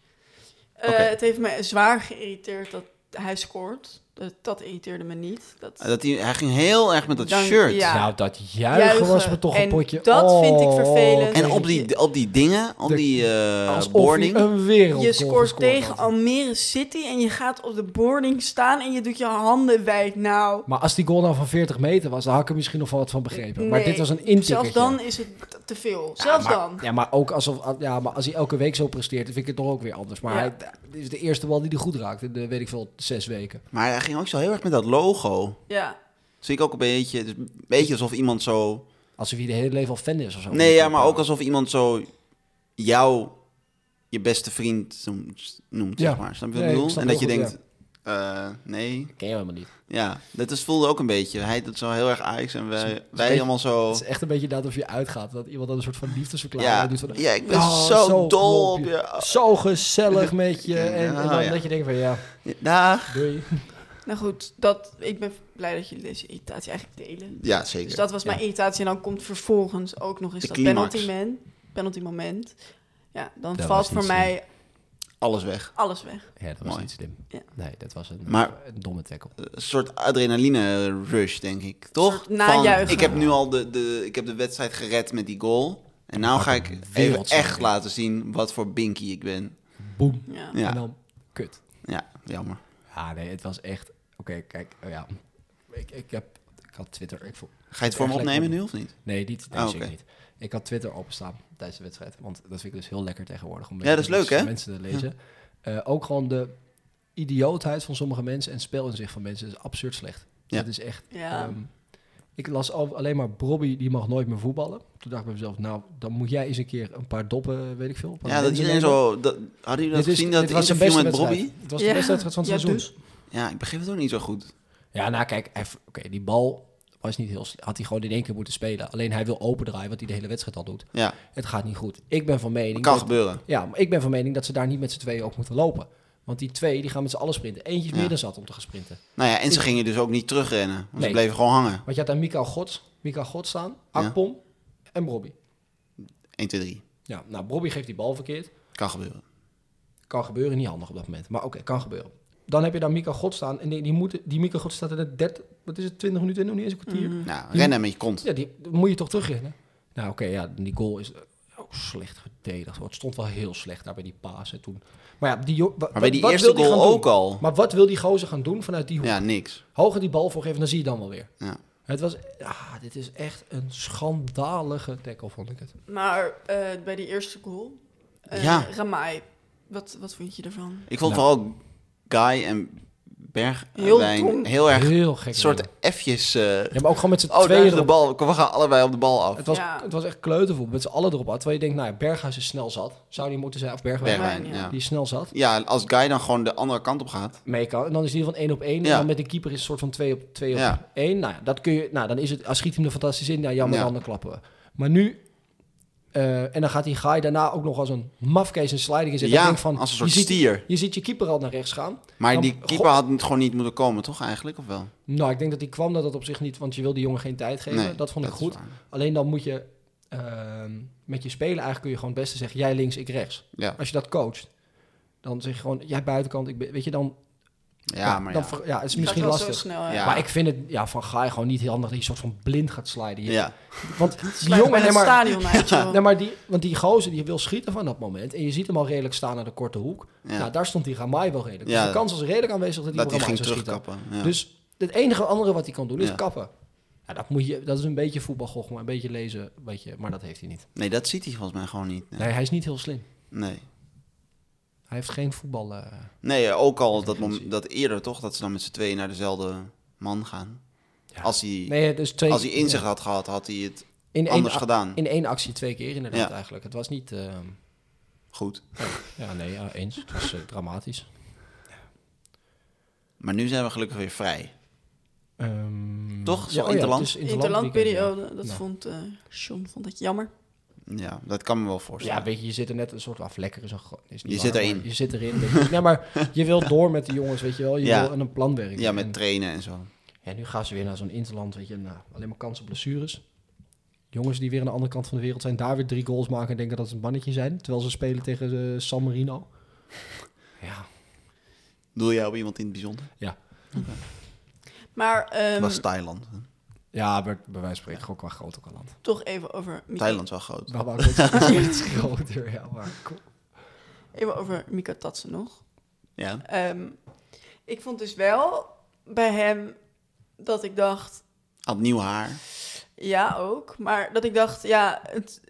Speaker 2: Eh,
Speaker 3: Oké.
Speaker 2: Het heeft mij zwaar geïrriteerd dat hij scoort. Dat, dat irriteerde me niet. Dat,
Speaker 3: Eh, Dat hij, hij ging heel erg met dat
Speaker 2: Dan-
Speaker 3: shirt.
Speaker 2: Ja.
Speaker 1: Nou, dat juichen, was me toch een
Speaker 2: en
Speaker 1: potje.
Speaker 2: dat vind ik
Speaker 1: Oh,
Speaker 2: vervelend.
Speaker 3: En op die, op die dingen, op
Speaker 1: De-
Speaker 3: die eh,
Speaker 1: Alsof hij
Speaker 3: boarding.
Speaker 1: een wereld
Speaker 2: je scoort tegen Almere City en je gaat op de boarding staan en je doet je handen wijd. Nou,
Speaker 1: Maar als die goal nou van 40 meter was, dan had ik er misschien nog wel wat van begrepen. maar
Speaker 2: nee.
Speaker 1: dit was een intikkertje.
Speaker 2: Zelfs dan is het te- te veel. Zelfs
Speaker 1: maar,
Speaker 2: dan.
Speaker 1: Ja, maar ook alsof, ja, maar als hij elke week zo presteert, dan vind ik het toch ook weer anders. Maar
Speaker 2: Ja.
Speaker 1: hij, dit is de eerste bal die hij goed raakt in de, weet ik veel, zes weken.
Speaker 3: Maar hij ging ook zo heel erg met dat logo.
Speaker 2: Ja.
Speaker 3: Dat zie ik ook een beetje. het is een beetje alsof iemand zo.
Speaker 1: Alsof hij de hele leven al fan is of zo.
Speaker 3: Nee, ja, maar ook alsof iemand zo jou je beste vriend noemt,
Speaker 1: Ja.
Speaker 3: zeg maar. Snap je
Speaker 1: Nee,
Speaker 3: wat ik
Speaker 1: ik
Speaker 3: bedoel?
Speaker 1: snap
Speaker 3: En dat je
Speaker 1: heel goed,
Speaker 3: denkt, eh, nee.
Speaker 1: Ken je helemaal niet.
Speaker 3: Ja, dat is, voelde ook een beetje. Hij doet zo heel erg Ajax en
Speaker 1: Het is
Speaker 3: wij,
Speaker 1: een
Speaker 3: wij
Speaker 1: beetje-
Speaker 3: allemaal zo...
Speaker 1: Het is echt een beetje dat of je uitgaat. Dat iemand dan een soort van liefdesverklaring
Speaker 3: Ja,
Speaker 1: doet. Van,
Speaker 3: ja, ik ben
Speaker 1: "Oh,
Speaker 3: zo, dol
Speaker 1: dol
Speaker 3: op je.
Speaker 1: Zo gezellig met je. En, en
Speaker 3: Ja,
Speaker 1: dan
Speaker 3: ja.
Speaker 1: dat je denkt van ja,
Speaker 3: Dag.
Speaker 1: doei.
Speaker 2: Nou goed, dat, ik ben blij dat jullie deze irritatie eigenlijk delen.
Speaker 3: Ja, zeker.
Speaker 2: Dus dat was mijn irritatie. En dan komt vervolgens ook nog eens
Speaker 3: De
Speaker 2: dat
Speaker 3: climax.
Speaker 2: penalty, man, penalty moment. Ja, dan
Speaker 1: Dat
Speaker 2: valt
Speaker 1: was niet
Speaker 2: voor
Speaker 1: slim.
Speaker 2: mij
Speaker 3: Alles weg.
Speaker 2: alles weg.
Speaker 1: Ja, dat was
Speaker 3: Mooi.
Speaker 1: niet slim.
Speaker 2: Ja.
Speaker 1: Nee, dat was een,
Speaker 3: Maar- Eh,
Speaker 1: een domme tackle.
Speaker 3: Een soort adrenaline rush, denk ik. Toch?
Speaker 2: soort najuichen.
Speaker 3: Van, ik heb nu al de, de, ik heb de wedstrijd gered met die goal. En nou ga ik even
Speaker 1: wereldzak,
Speaker 3: echt
Speaker 1: hè.
Speaker 3: laten zien wat voor binky ik ben.
Speaker 1: Boom.
Speaker 2: Ja.
Speaker 1: En
Speaker 3: Ja,
Speaker 1: dan kut.
Speaker 3: ja jammer.
Speaker 1: Ja, nee, het was echt... Oké, kijk, oh ja. Ik, ik heb... Ik had Twitter... Ik voel,
Speaker 3: Ga je het voor me
Speaker 1: Echt lekker.
Speaker 3: opnemen nu of niet?
Speaker 1: nee, niet, nee
Speaker 3: Ah,
Speaker 1: zeker
Speaker 3: oké.
Speaker 1: niet. Ik had Twitter openstaan tijdens de wedstrijd. Want dat vind ik dus heel lekker tegenwoordig. Om
Speaker 3: Ja, dat is
Speaker 1: mensen-
Speaker 3: leuk, hè?
Speaker 1: Mensen te lezen. Eh, ook gewoon de idiootheid van sommige mensen en het spel in zich van mensen is absurd slecht.
Speaker 3: Ja.
Speaker 1: Dat is echt...
Speaker 2: Ja.
Speaker 1: ehm, ik las al, alleen maar Bobby, die mag nooit meer voetballen. Toen dacht ik bij mezelf, nou, dan moet jij eens een keer een paar doppen, weet ik veel. een paar
Speaker 3: Ja, dat
Speaker 1: lenzen
Speaker 3: iedereen
Speaker 1: nemen.
Speaker 3: zo... Dat, hadden jullie dat
Speaker 1: Dit is-
Speaker 3: gezien, dat
Speaker 1: dit was de
Speaker 3: interview
Speaker 1: beste
Speaker 3: met
Speaker 1: wedstrijd.
Speaker 3: Bobby?
Speaker 1: Het was de
Speaker 2: Ja.
Speaker 1: beste wedstrijd van het
Speaker 2: Ja,
Speaker 1: seizoen.
Speaker 2: dus.
Speaker 3: Ja, ik begreep het ook niet zo goed.
Speaker 1: Ja, nou kijk, hij- oké, die bal was niet heel sle- Had hij gewoon in één keer moeten spelen. Alleen hij wil opendraaien, wat hij de hele wedstrijd al doet.
Speaker 3: Ja,
Speaker 1: Het gaat niet goed. Ik ben van mening...
Speaker 3: dat kan
Speaker 1: dat-
Speaker 3: gebeuren.
Speaker 1: ja, maar ik ben van mening dat ze daar niet met z'n tweeën op moeten lopen. Want die twee, die gaan met z'n allen sprinten. Eentje is
Speaker 3: Ja.
Speaker 1: meer dan zat om te gaan sprinten.
Speaker 3: Nou ja, en ze gingen dus ook niet terugrennen. Want ze
Speaker 1: Nee.
Speaker 3: bleven gewoon hangen.
Speaker 1: Want je had daar Mika Gods, Mika Gods staan, Akpom en Bobby.
Speaker 3: 1, 2, 3.
Speaker 1: Ja, nou, Bobby geeft die bal verkeerd.
Speaker 3: Kan gebeuren.
Speaker 1: Kan gebeuren, niet handig op dat moment. Maar oké, kan gebeuren. Dan heb je daar Mika God staan. En die, die, moet, die Mika God staat in het 30, wat is het, 20 minuten, nog niet eens een kwartier.
Speaker 3: Nou, rennen met je kont.
Speaker 1: Ja, die dan moet je toch terugrennen. Nou, oké, ja, die goal is eh, ook slecht verdedigd. hoor. Het stond wel heel slecht daar bij die paas en toen. Maar ja, die, jo- wa-
Speaker 3: Maar bij
Speaker 1: wa-
Speaker 3: die
Speaker 1: wat
Speaker 3: eerste
Speaker 1: wil die
Speaker 3: goal
Speaker 1: gaan doen?
Speaker 3: ook al.
Speaker 1: Maar wat wil die gozer gaan doen vanuit die hoek?
Speaker 3: Ja, niks.
Speaker 1: Hoger die bal voor geven, dan zie je dan wel weer.
Speaker 3: Ja.
Speaker 1: Het was, ah, dit is echt een schandalige tackle, vond ik het.
Speaker 2: Maar eh, bij die eerste goal, eh
Speaker 3: Ja.
Speaker 2: Ramai, wat, wat vond je ervan?
Speaker 3: Ik vond
Speaker 1: Nou.
Speaker 3: vooral Guy en Bergwijn
Speaker 2: Heel
Speaker 3: heel,
Speaker 2: dom.
Speaker 3: erg
Speaker 1: Heel gek.
Speaker 3: een soort F'jes. eh,
Speaker 1: ja, maar ook gewoon met z'n
Speaker 3: oh, daar
Speaker 1: tweeën
Speaker 3: is de
Speaker 1: erop.
Speaker 3: bal. Kom, We gaan allebei op de bal af.
Speaker 1: Het was,
Speaker 2: Ja.
Speaker 1: het was echt kleutervoel. Met z'n allen erop uit. Terwijl je denkt, nou ja, Berghuis is snel zat. Zou die moeten zijn, of Bergwijn,
Speaker 3: Bergwijn,
Speaker 2: Bergwijn,
Speaker 3: ja.
Speaker 1: die is snel zat.
Speaker 3: Ja, als Guy dan gewoon de andere kant op gaat.
Speaker 1: mee kan. En dan is die van 1 op 1.
Speaker 3: Ja.
Speaker 1: En dan met de keeper is het soort van 2 op 2 op
Speaker 3: Ja.
Speaker 1: 1. Nou, ja, dat kun je, nou, dan is het, als schiet hij hem er fantastisch in, ja, jammer,
Speaker 3: Ja.
Speaker 1: dan dan klappen we. Maar nu, eh, en dan gaat die Gaai daarna ook nog als een mafkees een sliding in zitten.
Speaker 3: Ja,
Speaker 1: Ik denk van,
Speaker 3: als een soort
Speaker 1: je ziet,
Speaker 3: stier.
Speaker 1: Je ziet je keeper al naar rechts gaan.
Speaker 3: Maar
Speaker 1: Dan-
Speaker 3: die keeper
Speaker 1: Goh.
Speaker 3: had het gewoon niet moeten komen, toch eigenlijk? Of wel?
Speaker 1: Nou, ik denk dat die kwam dat dat op zich niet, want je wil die jongen geen tijd geven.
Speaker 3: Nee,
Speaker 1: dat vond ik
Speaker 3: is
Speaker 1: goed.
Speaker 3: waar.
Speaker 1: Alleen dan moet je ehm, met je spelen eigenlijk kun je gewoon het beste zeggen, jij links, ik rechts.
Speaker 3: Ja,
Speaker 1: Als je dat coacht, dan zeg je gewoon, jij buitenkant, ik ben, weet je, dan...
Speaker 3: ja maar
Speaker 1: dan
Speaker 3: ja.
Speaker 1: ver- ja, het is
Speaker 2: Gaat
Speaker 1: misschien
Speaker 2: wel
Speaker 1: lastig.
Speaker 2: zo snel, hè?
Speaker 3: Ja.
Speaker 1: Maar ik vind het ja, van Gaai gewoon niet heel handig dat je soort van blind gaat sliden. hier.
Speaker 3: Ja,
Speaker 1: Want die
Speaker 2: Sluit
Speaker 1: jongen,
Speaker 2: bij
Speaker 1: nee, maar,
Speaker 2: het stadion uit, joh.
Speaker 1: nee, maar die, want die gozer die wil schieten van dat moment. En je ziet hem al redelijk staan aan de korte hoek.
Speaker 3: Ja.
Speaker 1: Nou, daar stond die Ramai wel redelijk.
Speaker 3: Ja.
Speaker 1: Dus de kans was redelijk aanwezig dat die
Speaker 3: dat hij
Speaker 1: Ramai
Speaker 3: ging
Speaker 1: zou schieten.
Speaker 3: terugkappen. Ja.
Speaker 1: Dus het enige andere wat hij kan doen is
Speaker 3: Ja.
Speaker 1: kappen. Ja, dat, moet je, dat is een beetje voetbalgochel, maar een beetje lezen. Weet je, maar dat heeft hij niet.
Speaker 3: Nee, dat ziet hij volgens mij gewoon niet. Nee.
Speaker 1: Nee, hij is niet heel slim.
Speaker 3: Nee,
Speaker 1: Hij heeft geen voetbal... eh,
Speaker 3: nee eh, ook al dat, mom- dat eerder toch, dat ze dan met z'n tweeën naar dezelfde man gaan.
Speaker 1: Ja.
Speaker 3: Als hij,
Speaker 1: nee, dus twee,
Speaker 3: als hij inzicht
Speaker 1: ja.
Speaker 3: had gehad, had hij het
Speaker 1: in één
Speaker 3: anders
Speaker 1: ac-
Speaker 3: gedaan.
Speaker 1: In één actie twee keer inderdaad
Speaker 3: Ja.
Speaker 1: eigenlijk. Het was niet... ehm,
Speaker 3: Goed.
Speaker 1: ja, nee, ja, eens. Het was eh, dramatisch.
Speaker 3: Maar nu zijn we gelukkig weer vrij.
Speaker 1: Ehm,
Speaker 3: Toch? Zo
Speaker 1: oh
Speaker 3: interland?
Speaker 1: het is weekend,
Speaker 2: Interlandperiode, dat
Speaker 1: Ja.
Speaker 2: vond eh John vond dat jammer.
Speaker 3: Ja, dat kan me wel
Speaker 1: Ja.
Speaker 3: voorstellen.
Speaker 1: ja, weet je, je zit er net een soort af. Lekker is een gro- is niet
Speaker 3: Je
Speaker 1: waar,
Speaker 3: zit erin.
Speaker 1: maar Je zit erin. weet je. Nee, maar je wil door met de jongens, weet je wel. Je
Speaker 3: Ja.
Speaker 1: wil aan een plan werken.
Speaker 3: Ja, met
Speaker 1: En,
Speaker 3: trainen en zo.
Speaker 1: ja, nu gaan ze weer naar zo'n interland, weet je. Nou, alleen maar kans op blessures. Jongens die weer aan de andere kant van de wereld zijn, daar weer drie goals maken en denken dat ze een mannetje zijn. Terwijl ze spelen tegen eh, San Marino. Ja.
Speaker 3: Doe jij op iemand in het bijzonder?
Speaker 2: Maar ehm,
Speaker 3: Het was Thailand. hè?
Speaker 1: Ja, bij, bij wijze van spreken gewoon qua grote land.
Speaker 2: toch even over Mika,
Speaker 3: Thailand is wel groot.
Speaker 1: Maar wou ik het is groter, ja. Maar cool.
Speaker 2: even over Mika Tatsen nog.
Speaker 3: Ja.
Speaker 2: Ehm, ik vond dus wel bij hem dat ik dacht,
Speaker 3: Had nieuw haar.
Speaker 2: ja ook, maar dat ik dacht, ja, het,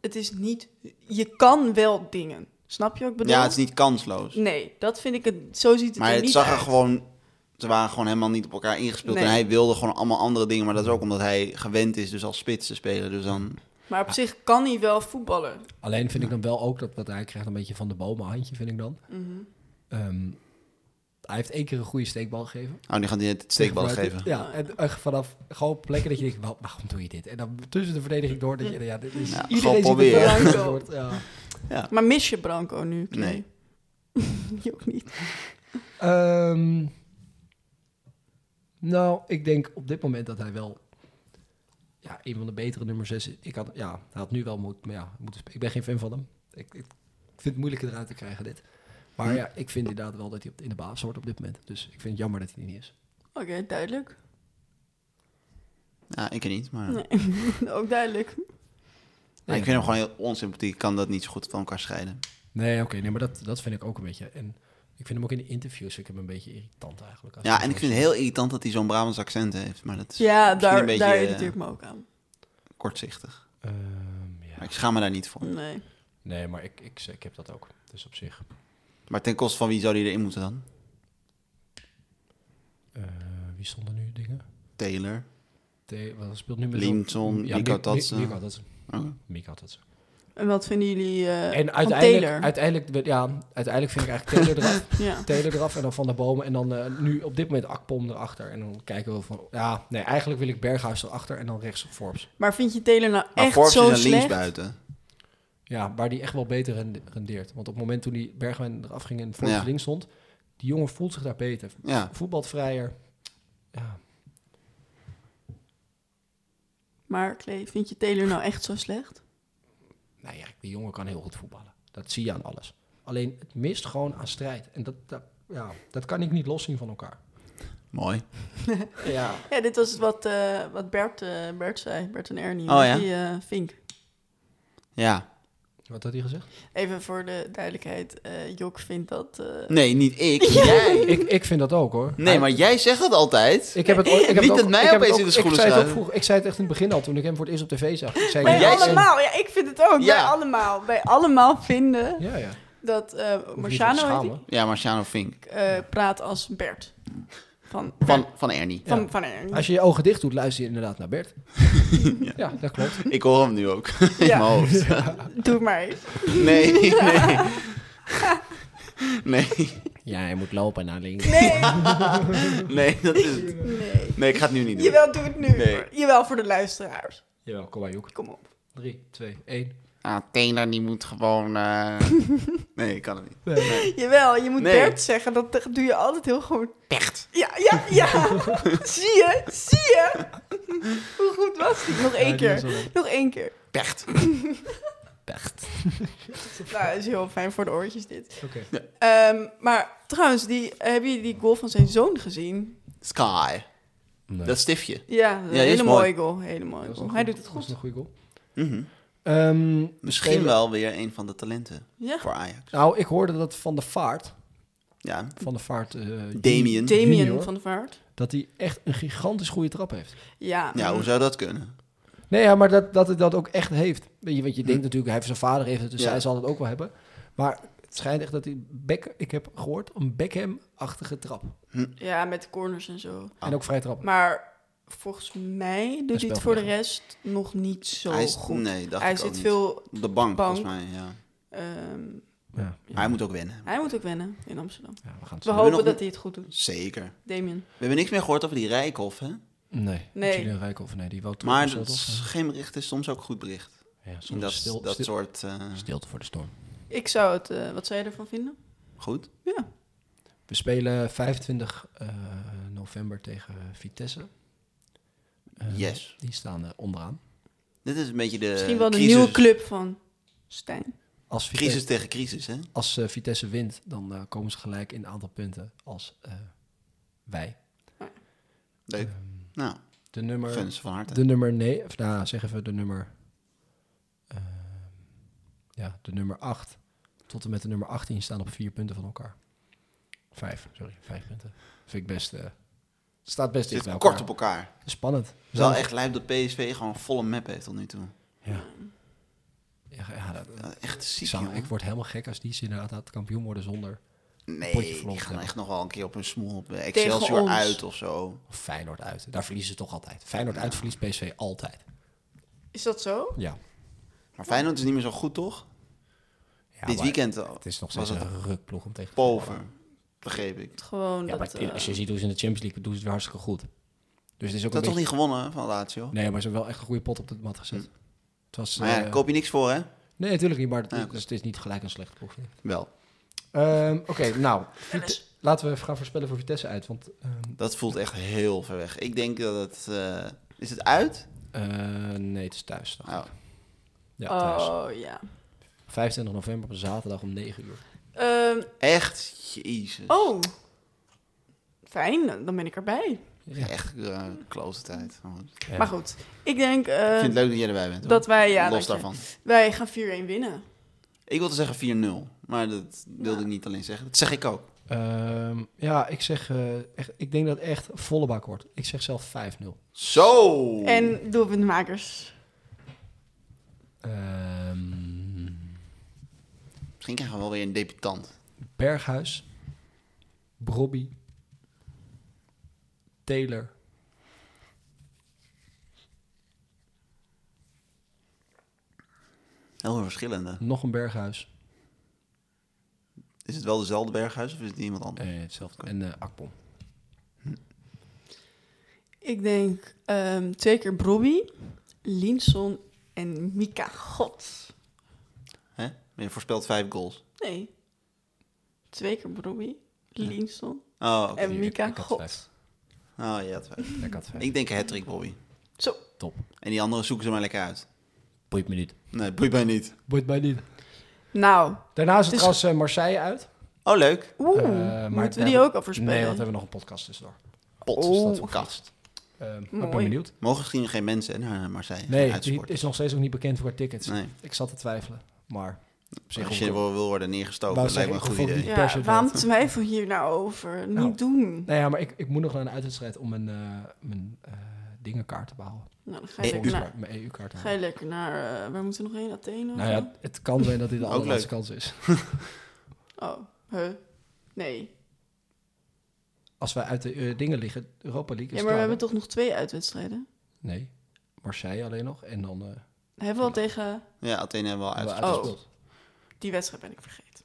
Speaker 2: het is niet, je kan wel dingen. Snap je wat ik bedoel?
Speaker 3: Ja, het is niet kansloos.
Speaker 2: Nee, dat vind ik het, zo ziet het
Speaker 3: Maar
Speaker 2: er
Speaker 3: het
Speaker 2: niet
Speaker 3: zag er
Speaker 2: uit.
Speaker 3: gewoon... Ze waren gewoon helemaal niet op elkaar ingespeeld.
Speaker 2: Nee.
Speaker 3: En hij wilde gewoon allemaal andere dingen. Maar dat is ook omdat hij gewend is dus als spits te spelen. Dus dan...
Speaker 2: Maar op zich kan hij wel voetballen.
Speaker 1: Alleen
Speaker 3: Mhm.
Speaker 1: vind ik dan wel ook dat wat hij krijgt een beetje van de bomen handje, vind ik dan.
Speaker 2: Mhm.
Speaker 1: Ehm, Hij heeft één keer een goede steekbal gegeven.
Speaker 3: Oh, nu gaan die het steekbal
Speaker 1: Maar het-
Speaker 3: geven.
Speaker 1: Ja, en echt vanaf gewoon plekken dat je denkt, "Wa- waarom doe je dit? En dan tussen de verdediging door dat je, ja, dit is
Speaker 3: Ja,
Speaker 1: iedereen
Speaker 3: gewoon
Speaker 1: ziet het
Speaker 3: proberen.
Speaker 1: wel
Speaker 2: Blanco.
Speaker 1: wordt, ja.
Speaker 2: Maar mis je Branco nu? Klee?
Speaker 3: Nee.
Speaker 2: Die ook niet.
Speaker 1: Ehm, nou, ik denk op dit moment dat hij wel ja, een van de betere nummer 6 is. Ik had, ja, hij had nu wel moet, maar ja, moet, ik ben geen fan van hem. Ik, ik vind het moeilijk eruit te krijgen dit. Maar
Speaker 3: Hm.
Speaker 1: ja, ik vind inderdaad wel dat hij op, in de baas wordt op dit moment. Dus ik vind het jammer dat hij er niet is.
Speaker 2: Oké, duidelijk.
Speaker 3: Ja, ik niet, maar...
Speaker 2: Nee. ook duidelijk.
Speaker 3: Maar ik vind hem gewoon heel onsympathiek. Ik kan dat niet zo goed van elkaar scheiden.
Speaker 1: Nee, oké, nee, maar dat, dat vind ik ook een beetje. En ik vind hem ook in de interviews vind ik hem een beetje irritant eigenlijk. Als
Speaker 3: Ja, en ik vind het heel irritant dat hij zo'n Brabants accent heeft. Maar dat is
Speaker 2: Ja,
Speaker 3: misschien
Speaker 2: daar,
Speaker 3: een beetje
Speaker 2: daar
Speaker 3: eh,
Speaker 2: irriteer ik me ook aan.
Speaker 3: kortzichtig.
Speaker 1: Ehm, ja.
Speaker 3: Maar ik schaam me daar niet voor.
Speaker 2: Nee.
Speaker 1: Nee, maar ik, ik, ik heb dat ook. Dus op zich.
Speaker 3: Maar ten koste van wie zou die erin moeten dan?
Speaker 1: eh, wie stond er nu dingen?
Speaker 3: Taylor.
Speaker 1: De, wat speelt nu met
Speaker 3: Linson,
Speaker 1: Ja,
Speaker 3: Nico
Speaker 1: Mi-
Speaker 3: Tatsen.
Speaker 1: Mi- Nico Tatsen.
Speaker 3: Oké.
Speaker 1: Mico Tatsen.
Speaker 2: En wat vinden jullie eh,
Speaker 1: En
Speaker 2: van
Speaker 1: uiteindelijk,
Speaker 2: Taylor?
Speaker 1: uiteindelijk, ja, uiteindelijk vind ik eigenlijk Taylor eraf.
Speaker 2: Ja.
Speaker 1: Taylor eraf en dan Van der Bomen. En dan eh, nu op dit moment Akpom erachter. En dan kijken we van... Ja, nee, eigenlijk wil ik Berghuis erachter en dan rechts Forbes.
Speaker 2: Maar vind je Taylor nou
Speaker 3: Maar
Speaker 2: echt
Speaker 3: Forbes
Speaker 2: zo
Speaker 3: is een
Speaker 2: slecht?
Speaker 3: linksbuiten.
Speaker 1: Ja, waar die echt wel beter rende- rendeert. Want op het moment toen die Bergwijn eraf ging en Forbes
Speaker 3: Ja.
Speaker 1: links stond... Die jongen voelt zich daar beter.
Speaker 3: Ja.
Speaker 1: Voetbalvrijer. Ja.
Speaker 2: Maar Klee, vind je Taylor nou echt zo slecht?
Speaker 1: Nou ja, die jongen kan heel goed voetballen. Dat zie je aan alles. Alleen het mist gewoon aan strijd. En dat, dat, ja, dat kan ik niet loszien van elkaar.
Speaker 3: Mooi.
Speaker 1: Ja.
Speaker 2: Ja, dit was wat, eh, wat Bert, eh, Bert zei. Bert en Ernie.
Speaker 3: Oh, ja?
Speaker 2: Die eh, Vink.
Speaker 3: Ja.
Speaker 1: Wat had hij gezegd?
Speaker 2: Even voor de duidelijkheid. eh, Jok vindt dat... eh,
Speaker 3: Nee, niet ik. Jij.
Speaker 1: Ik, ik vind dat ook hoor.
Speaker 3: Nee, maar jij zegt dat altijd.
Speaker 1: Ik heb het, ooit- ik heb
Speaker 3: Niet
Speaker 1: het ook,
Speaker 3: dat mij
Speaker 1: ik heb het
Speaker 3: opeens
Speaker 1: ook-
Speaker 3: in de schoenen
Speaker 1: ik zei, het ook
Speaker 3: schuiven.
Speaker 1: vroeg, ik zei het echt in het begin al toen ik hem voor het eerst op tv zag. Ik zei,
Speaker 2: Bij
Speaker 3: jij zegt-
Speaker 2: allemaal, ja, ik vind het ook.
Speaker 3: Ja.
Speaker 2: Bij allemaal. Bij allemaal vinden
Speaker 1: Ja, ja.
Speaker 2: dat
Speaker 1: Hoef je
Speaker 2: eh
Speaker 1: niet voor te
Speaker 2: Marciano heet
Speaker 1: schamen.
Speaker 3: Ja, Marciano Fink.
Speaker 2: die, eh, praat als Bert. Van,
Speaker 3: Van, van Ernie.
Speaker 2: van,
Speaker 1: Ja.
Speaker 2: van Ernie.
Speaker 1: Als je je ogen dicht doet, luister je inderdaad naar Bert. ja. dat klopt.
Speaker 3: Ik hoor hem nu ook. In
Speaker 2: Ja.
Speaker 3: mijn hoofd.
Speaker 2: Doe maar eens.
Speaker 3: Nee, nee. Nee,
Speaker 1: Ja, hij moet lopen naar links.
Speaker 2: Nee,
Speaker 3: nee, dat is het.
Speaker 2: nee.
Speaker 3: Nee, ik ga het nu niet doen.
Speaker 2: Jawel, doe het nu.
Speaker 3: Nee.
Speaker 2: Jawel, voor de luisteraars.
Speaker 1: Jawel, kom maar Joek.
Speaker 2: Kom op.
Speaker 1: 3, 2, 1.
Speaker 3: Ah, Taylor die moet gewoon... eh, Nee, ik kan het niet.
Speaker 2: Jawel, je moet
Speaker 3: Nee.
Speaker 2: Bert zeggen. Dat dat doe je altijd heel gewoon. Bert. Ja, ja, ja. zie je? Zie je? Hoe goed was die? Nog één keer. Nog één keer.
Speaker 3: Pecht.
Speaker 2: Nou, dat is heel fijn voor de oortjes dit.
Speaker 1: Oké.
Speaker 2: Ehm, maar trouwens, die, hebben jullie die goal van zijn zoon gezien?
Speaker 3: Sky.
Speaker 1: Nee.
Speaker 3: Dat stiftje.
Speaker 2: Ja, een
Speaker 3: die is
Speaker 2: hele
Speaker 3: mooi.
Speaker 2: mooie goal. Hele mooie goal. Hij doet het
Speaker 1: Dat is
Speaker 2: goed.
Speaker 1: een goede goal.
Speaker 3: Mhm.
Speaker 1: Ehm,
Speaker 3: Misschien wel weer een van de talenten
Speaker 2: Ja.
Speaker 3: voor Ajax.
Speaker 1: Nou, ik hoorde dat Van de Vaart...
Speaker 3: Ja,
Speaker 1: Van de Vaart... eh,
Speaker 2: Damien
Speaker 3: Damien.
Speaker 1: Junior.
Speaker 2: van de Vaart.
Speaker 1: dat hij echt een gigantisch goede trap heeft.
Speaker 2: Ja.
Speaker 3: ja, hoe zou dat kunnen?
Speaker 1: Nee, ja, maar dat, dat hij dat ook echt heeft. Weet je, want je denkt natuurlijk, hij heeft zijn vader heeft het, dus
Speaker 3: Hm. Ja.
Speaker 1: hij zal het ook wel hebben. Maar het schijnt echt dat hij, Beck, ik heb gehoord, een Beckham-achtige trap.
Speaker 2: ja, met corners en zo.
Speaker 3: Ah.
Speaker 1: En ook vrij trap.
Speaker 2: Maar volgens mij doet hij
Speaker 1: spel
Speaker 2: het voor de
Speaker 1: van
Speaker 2: rest nog niet zo
Speaker 3: hij is,
Speaker 2: goed.
Speaker 3: Nee, dacht
Speaker 2: hij
Speaker 3: ik ook
Speaker 2: zit
Speaker 3: niet.
Speaker 2: veel...
Speaker 3: Op de bank,
Speaker 2: bank.
Speaker 3: volgens mij, ja.
Speaker 2: ehm,
Speaker 1: Ja,
Speaker 3: Maar hij moet ook winnen.
Speaker 2: hij moet ook wennen in Amsterdam.
Speaker 1: ja, we gaan het
Speaker 2: We
Speaker 1: zien.
Speaker 3: nog
Speaker 2: hopen
Speaker 3: niet-
Speaker 2: dat hij het goed doet.
Speaker 3: Zeker.
Speaker 2: Damien.
Speaker 3: We hebben niks meer gehoord over die Rijkoff, hè?
Speaker 1: Nee,
Speaker 2: Nee.
Speaker 1: nee. Rijkoff, nee, die wou terug
Speaker 3: Maar
Speaker 1: of zo,
Speaker 3: dat
Speaker 1: toch?
Speaker 3: is geen bericht is soms ook goed bericht.
Speaker 1: Ja, soms
Speaker 3: En dat,
Speaker 1: stil,
Speaker 3: dat
Speaker 1: stil-
Speaker 3: soort... eh,
Speaker 1: stilte voor de storm.
Speaker 2: Ik zou het... eh, wat zou je ervan vinden?
Speaker 3: goed.
Speaker 2: Ja.
Speaker 1: We spelen 25 eh, november tegen Vitesse. Eh,
Speaker 3: Yes.
Speaker 1: Die staan eh, onderaan.
Speaker 3: Dit is een beetje de
Speaker 2: Misschien
Speaker 1: Eh,
Speaker 2: wel de
Speaker 3: crisis,
Speaker 2: nieuwe club van Stijn.
Speaker 1: Als Vitesse,
Speaker 3: Crisis tegen crisis, hè?
Speaker 1: als, eh, Vitesse wint, dan eh, komen ze gelijk in een aantal punten als eh, wij. Ehm,
Speaker 3: Leuk. Nou,
Speaker 1: De nummer...
Speaker 3: gunnen ze van harte.
Speaker 1: De nummer 9, of nou, zeg even de nummer. eh, ja, de nummer 8. Tot en met de nummer 18 staan op vier punten van elkaar. Vijf, sorry, vijf punten. Vind ik best. eh, staat best dicht bij
Speaker 3: Zit
Speaker 1: elkaar.
Speaker 3: kort op elkaar.
Speaker 1: Spannend.
Speaker 3: Het is wel echt lijp dat PSV gewoon een volle map heeft tot nu toe.
Speaker 1: Ja. Ja, ja, dat,
Speaker 3: Ja, Echt
Speaker 1: ik,
Speaker 3: ziek,
Speaker 1: zou-
Speaker 3: jongen.
Speaker 1: ik word helemaal gek als die ze inderdaad had kampioen worden zonder.
Speaker 3: Nee,
Speaker 1: potje
Speaker 3: die
Speaker 1: verloren
Speaker 3: gaan
Speaker 1: hebben.
Speaker 3: echt nog wel een keer op hun smoel. Op eh,
Speaker 2: Tegen
Speaker 3: Excelsior
Speaker 2: ons.
Speaker 3: uit of zo.
Speaker 1: Of Feyenoord uit. Daar verliezen ze toch altijd. Feyenoord uit verliest PSV altijd.
Speaker 2: Is dat zo?
Speaker 1: Ja.
Speaker 3: Maar Feyenoord is niet meer zo goed, toch?
Speaker 1: Ja,
Speaker 3: Dit
Speaker 1: maar
Speaker 3: weekend al.
Speaker 1: Het is nog
Speaker 3: was
Speaker 1: steeds
Speaker 3: het
Speaker 1: een rukploeg om tegen te
Speaker 3: pover.
Speaker 1: voetballen.
Speaker 3: begreep ik.
Speaker 2: Gewoon
Speaker 1: Ja,
Speaker 2: dat...
Speaker 1: maar als je
Speaker 2: eh,
Speaker 1: ziet hoe ze in de Champions League doen, ze het weer hartstikke goed. Dus het is ook
Speaker 3: Dat
Speaker 1: een
Speaker 3: toch
Speaker 1: beetje...
Speaker 3: niet gewonnen hè, van Lazio?
Speaker 1: Nee, maar ze hebben wel echt een goede pot op de mat gezet. Het was...
Speaker 3: Maar ja,
Speaker 1: eh,
Speaker 3: daar koop je niks voor, hè?
Speaker 1: Nee, natuurlijk niet, maar het,
Speaker 3: Ja.
Speaker 1: dus het is niet gelijk een slecht proefje.
Speaker 3: Wel.
Speaker 1: Ehm, Oké, nou. Vite- Laten we even gaan voorspellen voor Vitesse uit. Want ehm,
Speaker 3: Dat voelt echt heel ver weg. Ik denk dat het... eh, is het uit?
Speaker 1: eh, nee, het is thuis. dacht ik.
Speaker 3: Nou,
Speaker 1: Ja, thuis.
Speaker 2: Oh, ja.
Speaker 1: 25 november op een zaterdag om 9 uur.
Speaker 2: Ehm,
Speaker 3: echt? Jezus.
Speaker 2: oh. Fijn, dan ben ik erbij.
Speaker 1: Ja.
Speaker 3: Echt eh klote tijd. Oh, Ik
Speaker 1: Ja.
Speaker 2: Maar goed, ik denk eh,
Speaker 3: vind het leuk dat jij erbij bent. hoor.
Speaker 2: dat wij... Ja, dat
Speaker 3: Los
Speaker 2: je-
Speaker 3: daarvan.
Speaker 2: Wij gaan 4-1 winnen.
Speaker 3: Ik wilde zeggen 4-0, maar dat wilde ik niet alleen zeggen. Dat zeg ik ook.
Speaker 1: Ehm, ja, ik zeg... eh, echt, ik denk dat het echt volle bak wordt. Ik zeg zelf 5-0.
Speaker 3: Zo!
Speaker 2: En doelpuntmakers.
Speaker 1: Ehm,
Speaker 3: Misschien krijgen we wel weer een debutant.
Speaker 1: Berghuis. Brobby. Taylor.
Speaker 3: Heel veel verschillende.
Speaker 1: Nog een Berghuis.
Speaker 3: Is het wel dezelfde Berghuis of is het iemand anders?
Speaker 1: Eh, hetzelfde. En eh Akpom.
Speaker 2: Ik denk ehm, twee keer Brobby, Linson en Mika. God.
Speaker 3: Hè? Maar je voorspelt vijf goals.
Speaker 2: Nee. Twee keer Brobby, Linson
Speaker 3: Oh, oké.
Speaker 2: en
Speaker 1: ik-
Speaker 2: Mika.
Speaker 1: ik had
Speaker 2: God.
Speaker 1: vijf.
Speaker 3: oh ja, vijf.
Speaker 1: Ik had vijf.
Speaker 3: Ik denk Hattrick Bobby.
Speaker 2: Zo.
Speaker 1: Top.
Speaker 3: En die anderen zoeken ze maar lekker uit.
Speaker 1: Boeit me niet.
Speaker 3: Nee, boeit mij niet.
Speaker 1: Boeit mij niet.
Speaker 2: Nou.
Speaker 1: Daarna is het
Speaker 2: Dus-
Speaker 1: trouwens eh, Marseille uit.
Speaker 3: Oh, leuk.
Speaker 2: Oeh.
Speaker 1: Eh, maar
Speaker 2: moeten we
Speaker 1: daar
Speaker 2: die
Speaker 1: hebben-
Speaker 2: ook al voorspellen?
Speaker 1: Nee, want we hebben nog een podcast tussendoor.
Speaker 3: Pot.
Speaker 1: Dus dat
Speaker 3: Voor
Speaker 1: voor
Speaker 3: kast.
Speaker 1: Ehm, maar ik ben
Speaker 2: Mooi.
Speaker 1: benieuwd.
Speaker 3: Mogen misschien geen mensen hè, naar Marseille
Speaker 1: Nee, die
Speaker 3: uitsporten.
Speaker 1: is nog steeds ook niet bekend voor tickets.
Speaker 3: Nee.
Speaker 1: Ik zat te twijfelen. Maar op zich
Speaker 3: Als je
Speaker 1: ook-
Speaker 3: wil, wil worden neergestoken,
Speaker 1: Wou
Speaker 3: dat lijkt me een
Speaker 1: zeggen,
Speaker 3: goed
Speaker 1: ik hoef ook
Speaker 3: idee.
Speaker 1: die
Speaker 2: ja,
Speaker 1: persen
Speaker 2: waarom
Speaker 1: dat.
Speaker 2: twijfel je hier nou over? Niet
Speaker 1: Nou.
Speaker 2: doen.
Speaker 1: Nee, ja, maar ik, ik moet nog naar een uitwedstrijd om mijn, eh, mijn eh, dingenkaart te behalen.
Speaker 2: Nou, dan ga je
Speaker 3: Eh,
Speaker 2: lekker
Speaker 3: u-
Speaker 2: naar...
Speaker 1: Mijn EU-kaart te
Speaker 2: Ga je
Speaker 1: halen.
Speaker 2: lekker naar... eh, waar moeten we nog heen? Athene? of
Speaker 1: Nou
Speaker 2: zo?
Speaker 1: ja, het kan zijn dat dit de
Speaker 3: Mhm. Ook
Speaker 1: allerlaatste kans is.
Speaker 2: Oh, huh? Nee.
Speaker 1: Als wij uit de eh, dingen liggen, Europa League is
Speaker 2: Ja, maar we
Speaker 1: klaar,
Speaker 2: hebben toch nog twee uitwedstrijden?
Speaker 1: hè? Nee, Marseille alleen nog. En
Speaker 3: Oh,
Speaker 1: dan eh
Speaker 2: Hebben we al tegen...
Speaker 3: Ja, Athene hebben we al
Speaker 1: hebben we
Speaker 3: uit.
Speaker 1: uitgespeeld.
Speaker 2: Die wedstrijd ben ik vergeten.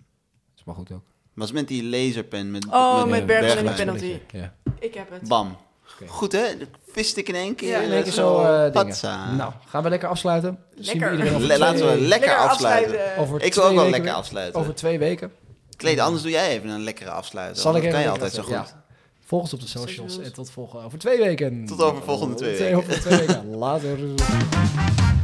Speaker 1: is maar goed ook.
Speaker 3: Was met die laserpen met,
Speaker 2: Oh,
Speaker 1: met
Speaker 2: Bergman en
Speaker 1: Ja,
Speaker 2: de penalty.
Speaker 1: dat je- Ja.
Speaker 2: Ik heb het.
Speaker 3: Bam.
Speaker 1: Oké.
Speaker 3: Goed hè? Dat Vist ik in één keer.
Speaker 2: Ja, in één keer
Speaker 1: zo eh dingen.
Speaker 3: patsa.
Speaker 1: Nou, gaan we lekker afsluiten. Zien we
Speaker 2: Lekker.
Speaker 1: iedereen over
Speaker 3: Le- laten we
Speaker 1: twee-
Speaker 3: lekker, afsluiten.
Speaker 1: over twee
Speaker 3: Ik wil ook wel
Speaker 1: weken
Speaker 3: lekker
Speaker 1: weer-
Speaker 3: afsluiten.
Speaker 1: Over twee weken.
Speaker 3: Kleed, anders doe jij even een lekkere afsluiten.
Speaker 1: Zal
Speaker 3: want
Speaker 1: ik
Speaker 3: dat kan
Speaker 1: even
Speaker 3: je altijd
Speaker 1: lekker
Speaker 3: zo goed.
Speaker 1: afsluiten, Volg ons op de socials
Speaker 2: Socials.
Speaker 1: en tot volgende over twee weken.
Speaker 3: Tot over volgende twee weken.
Speaker 1: Over twee weken. Later.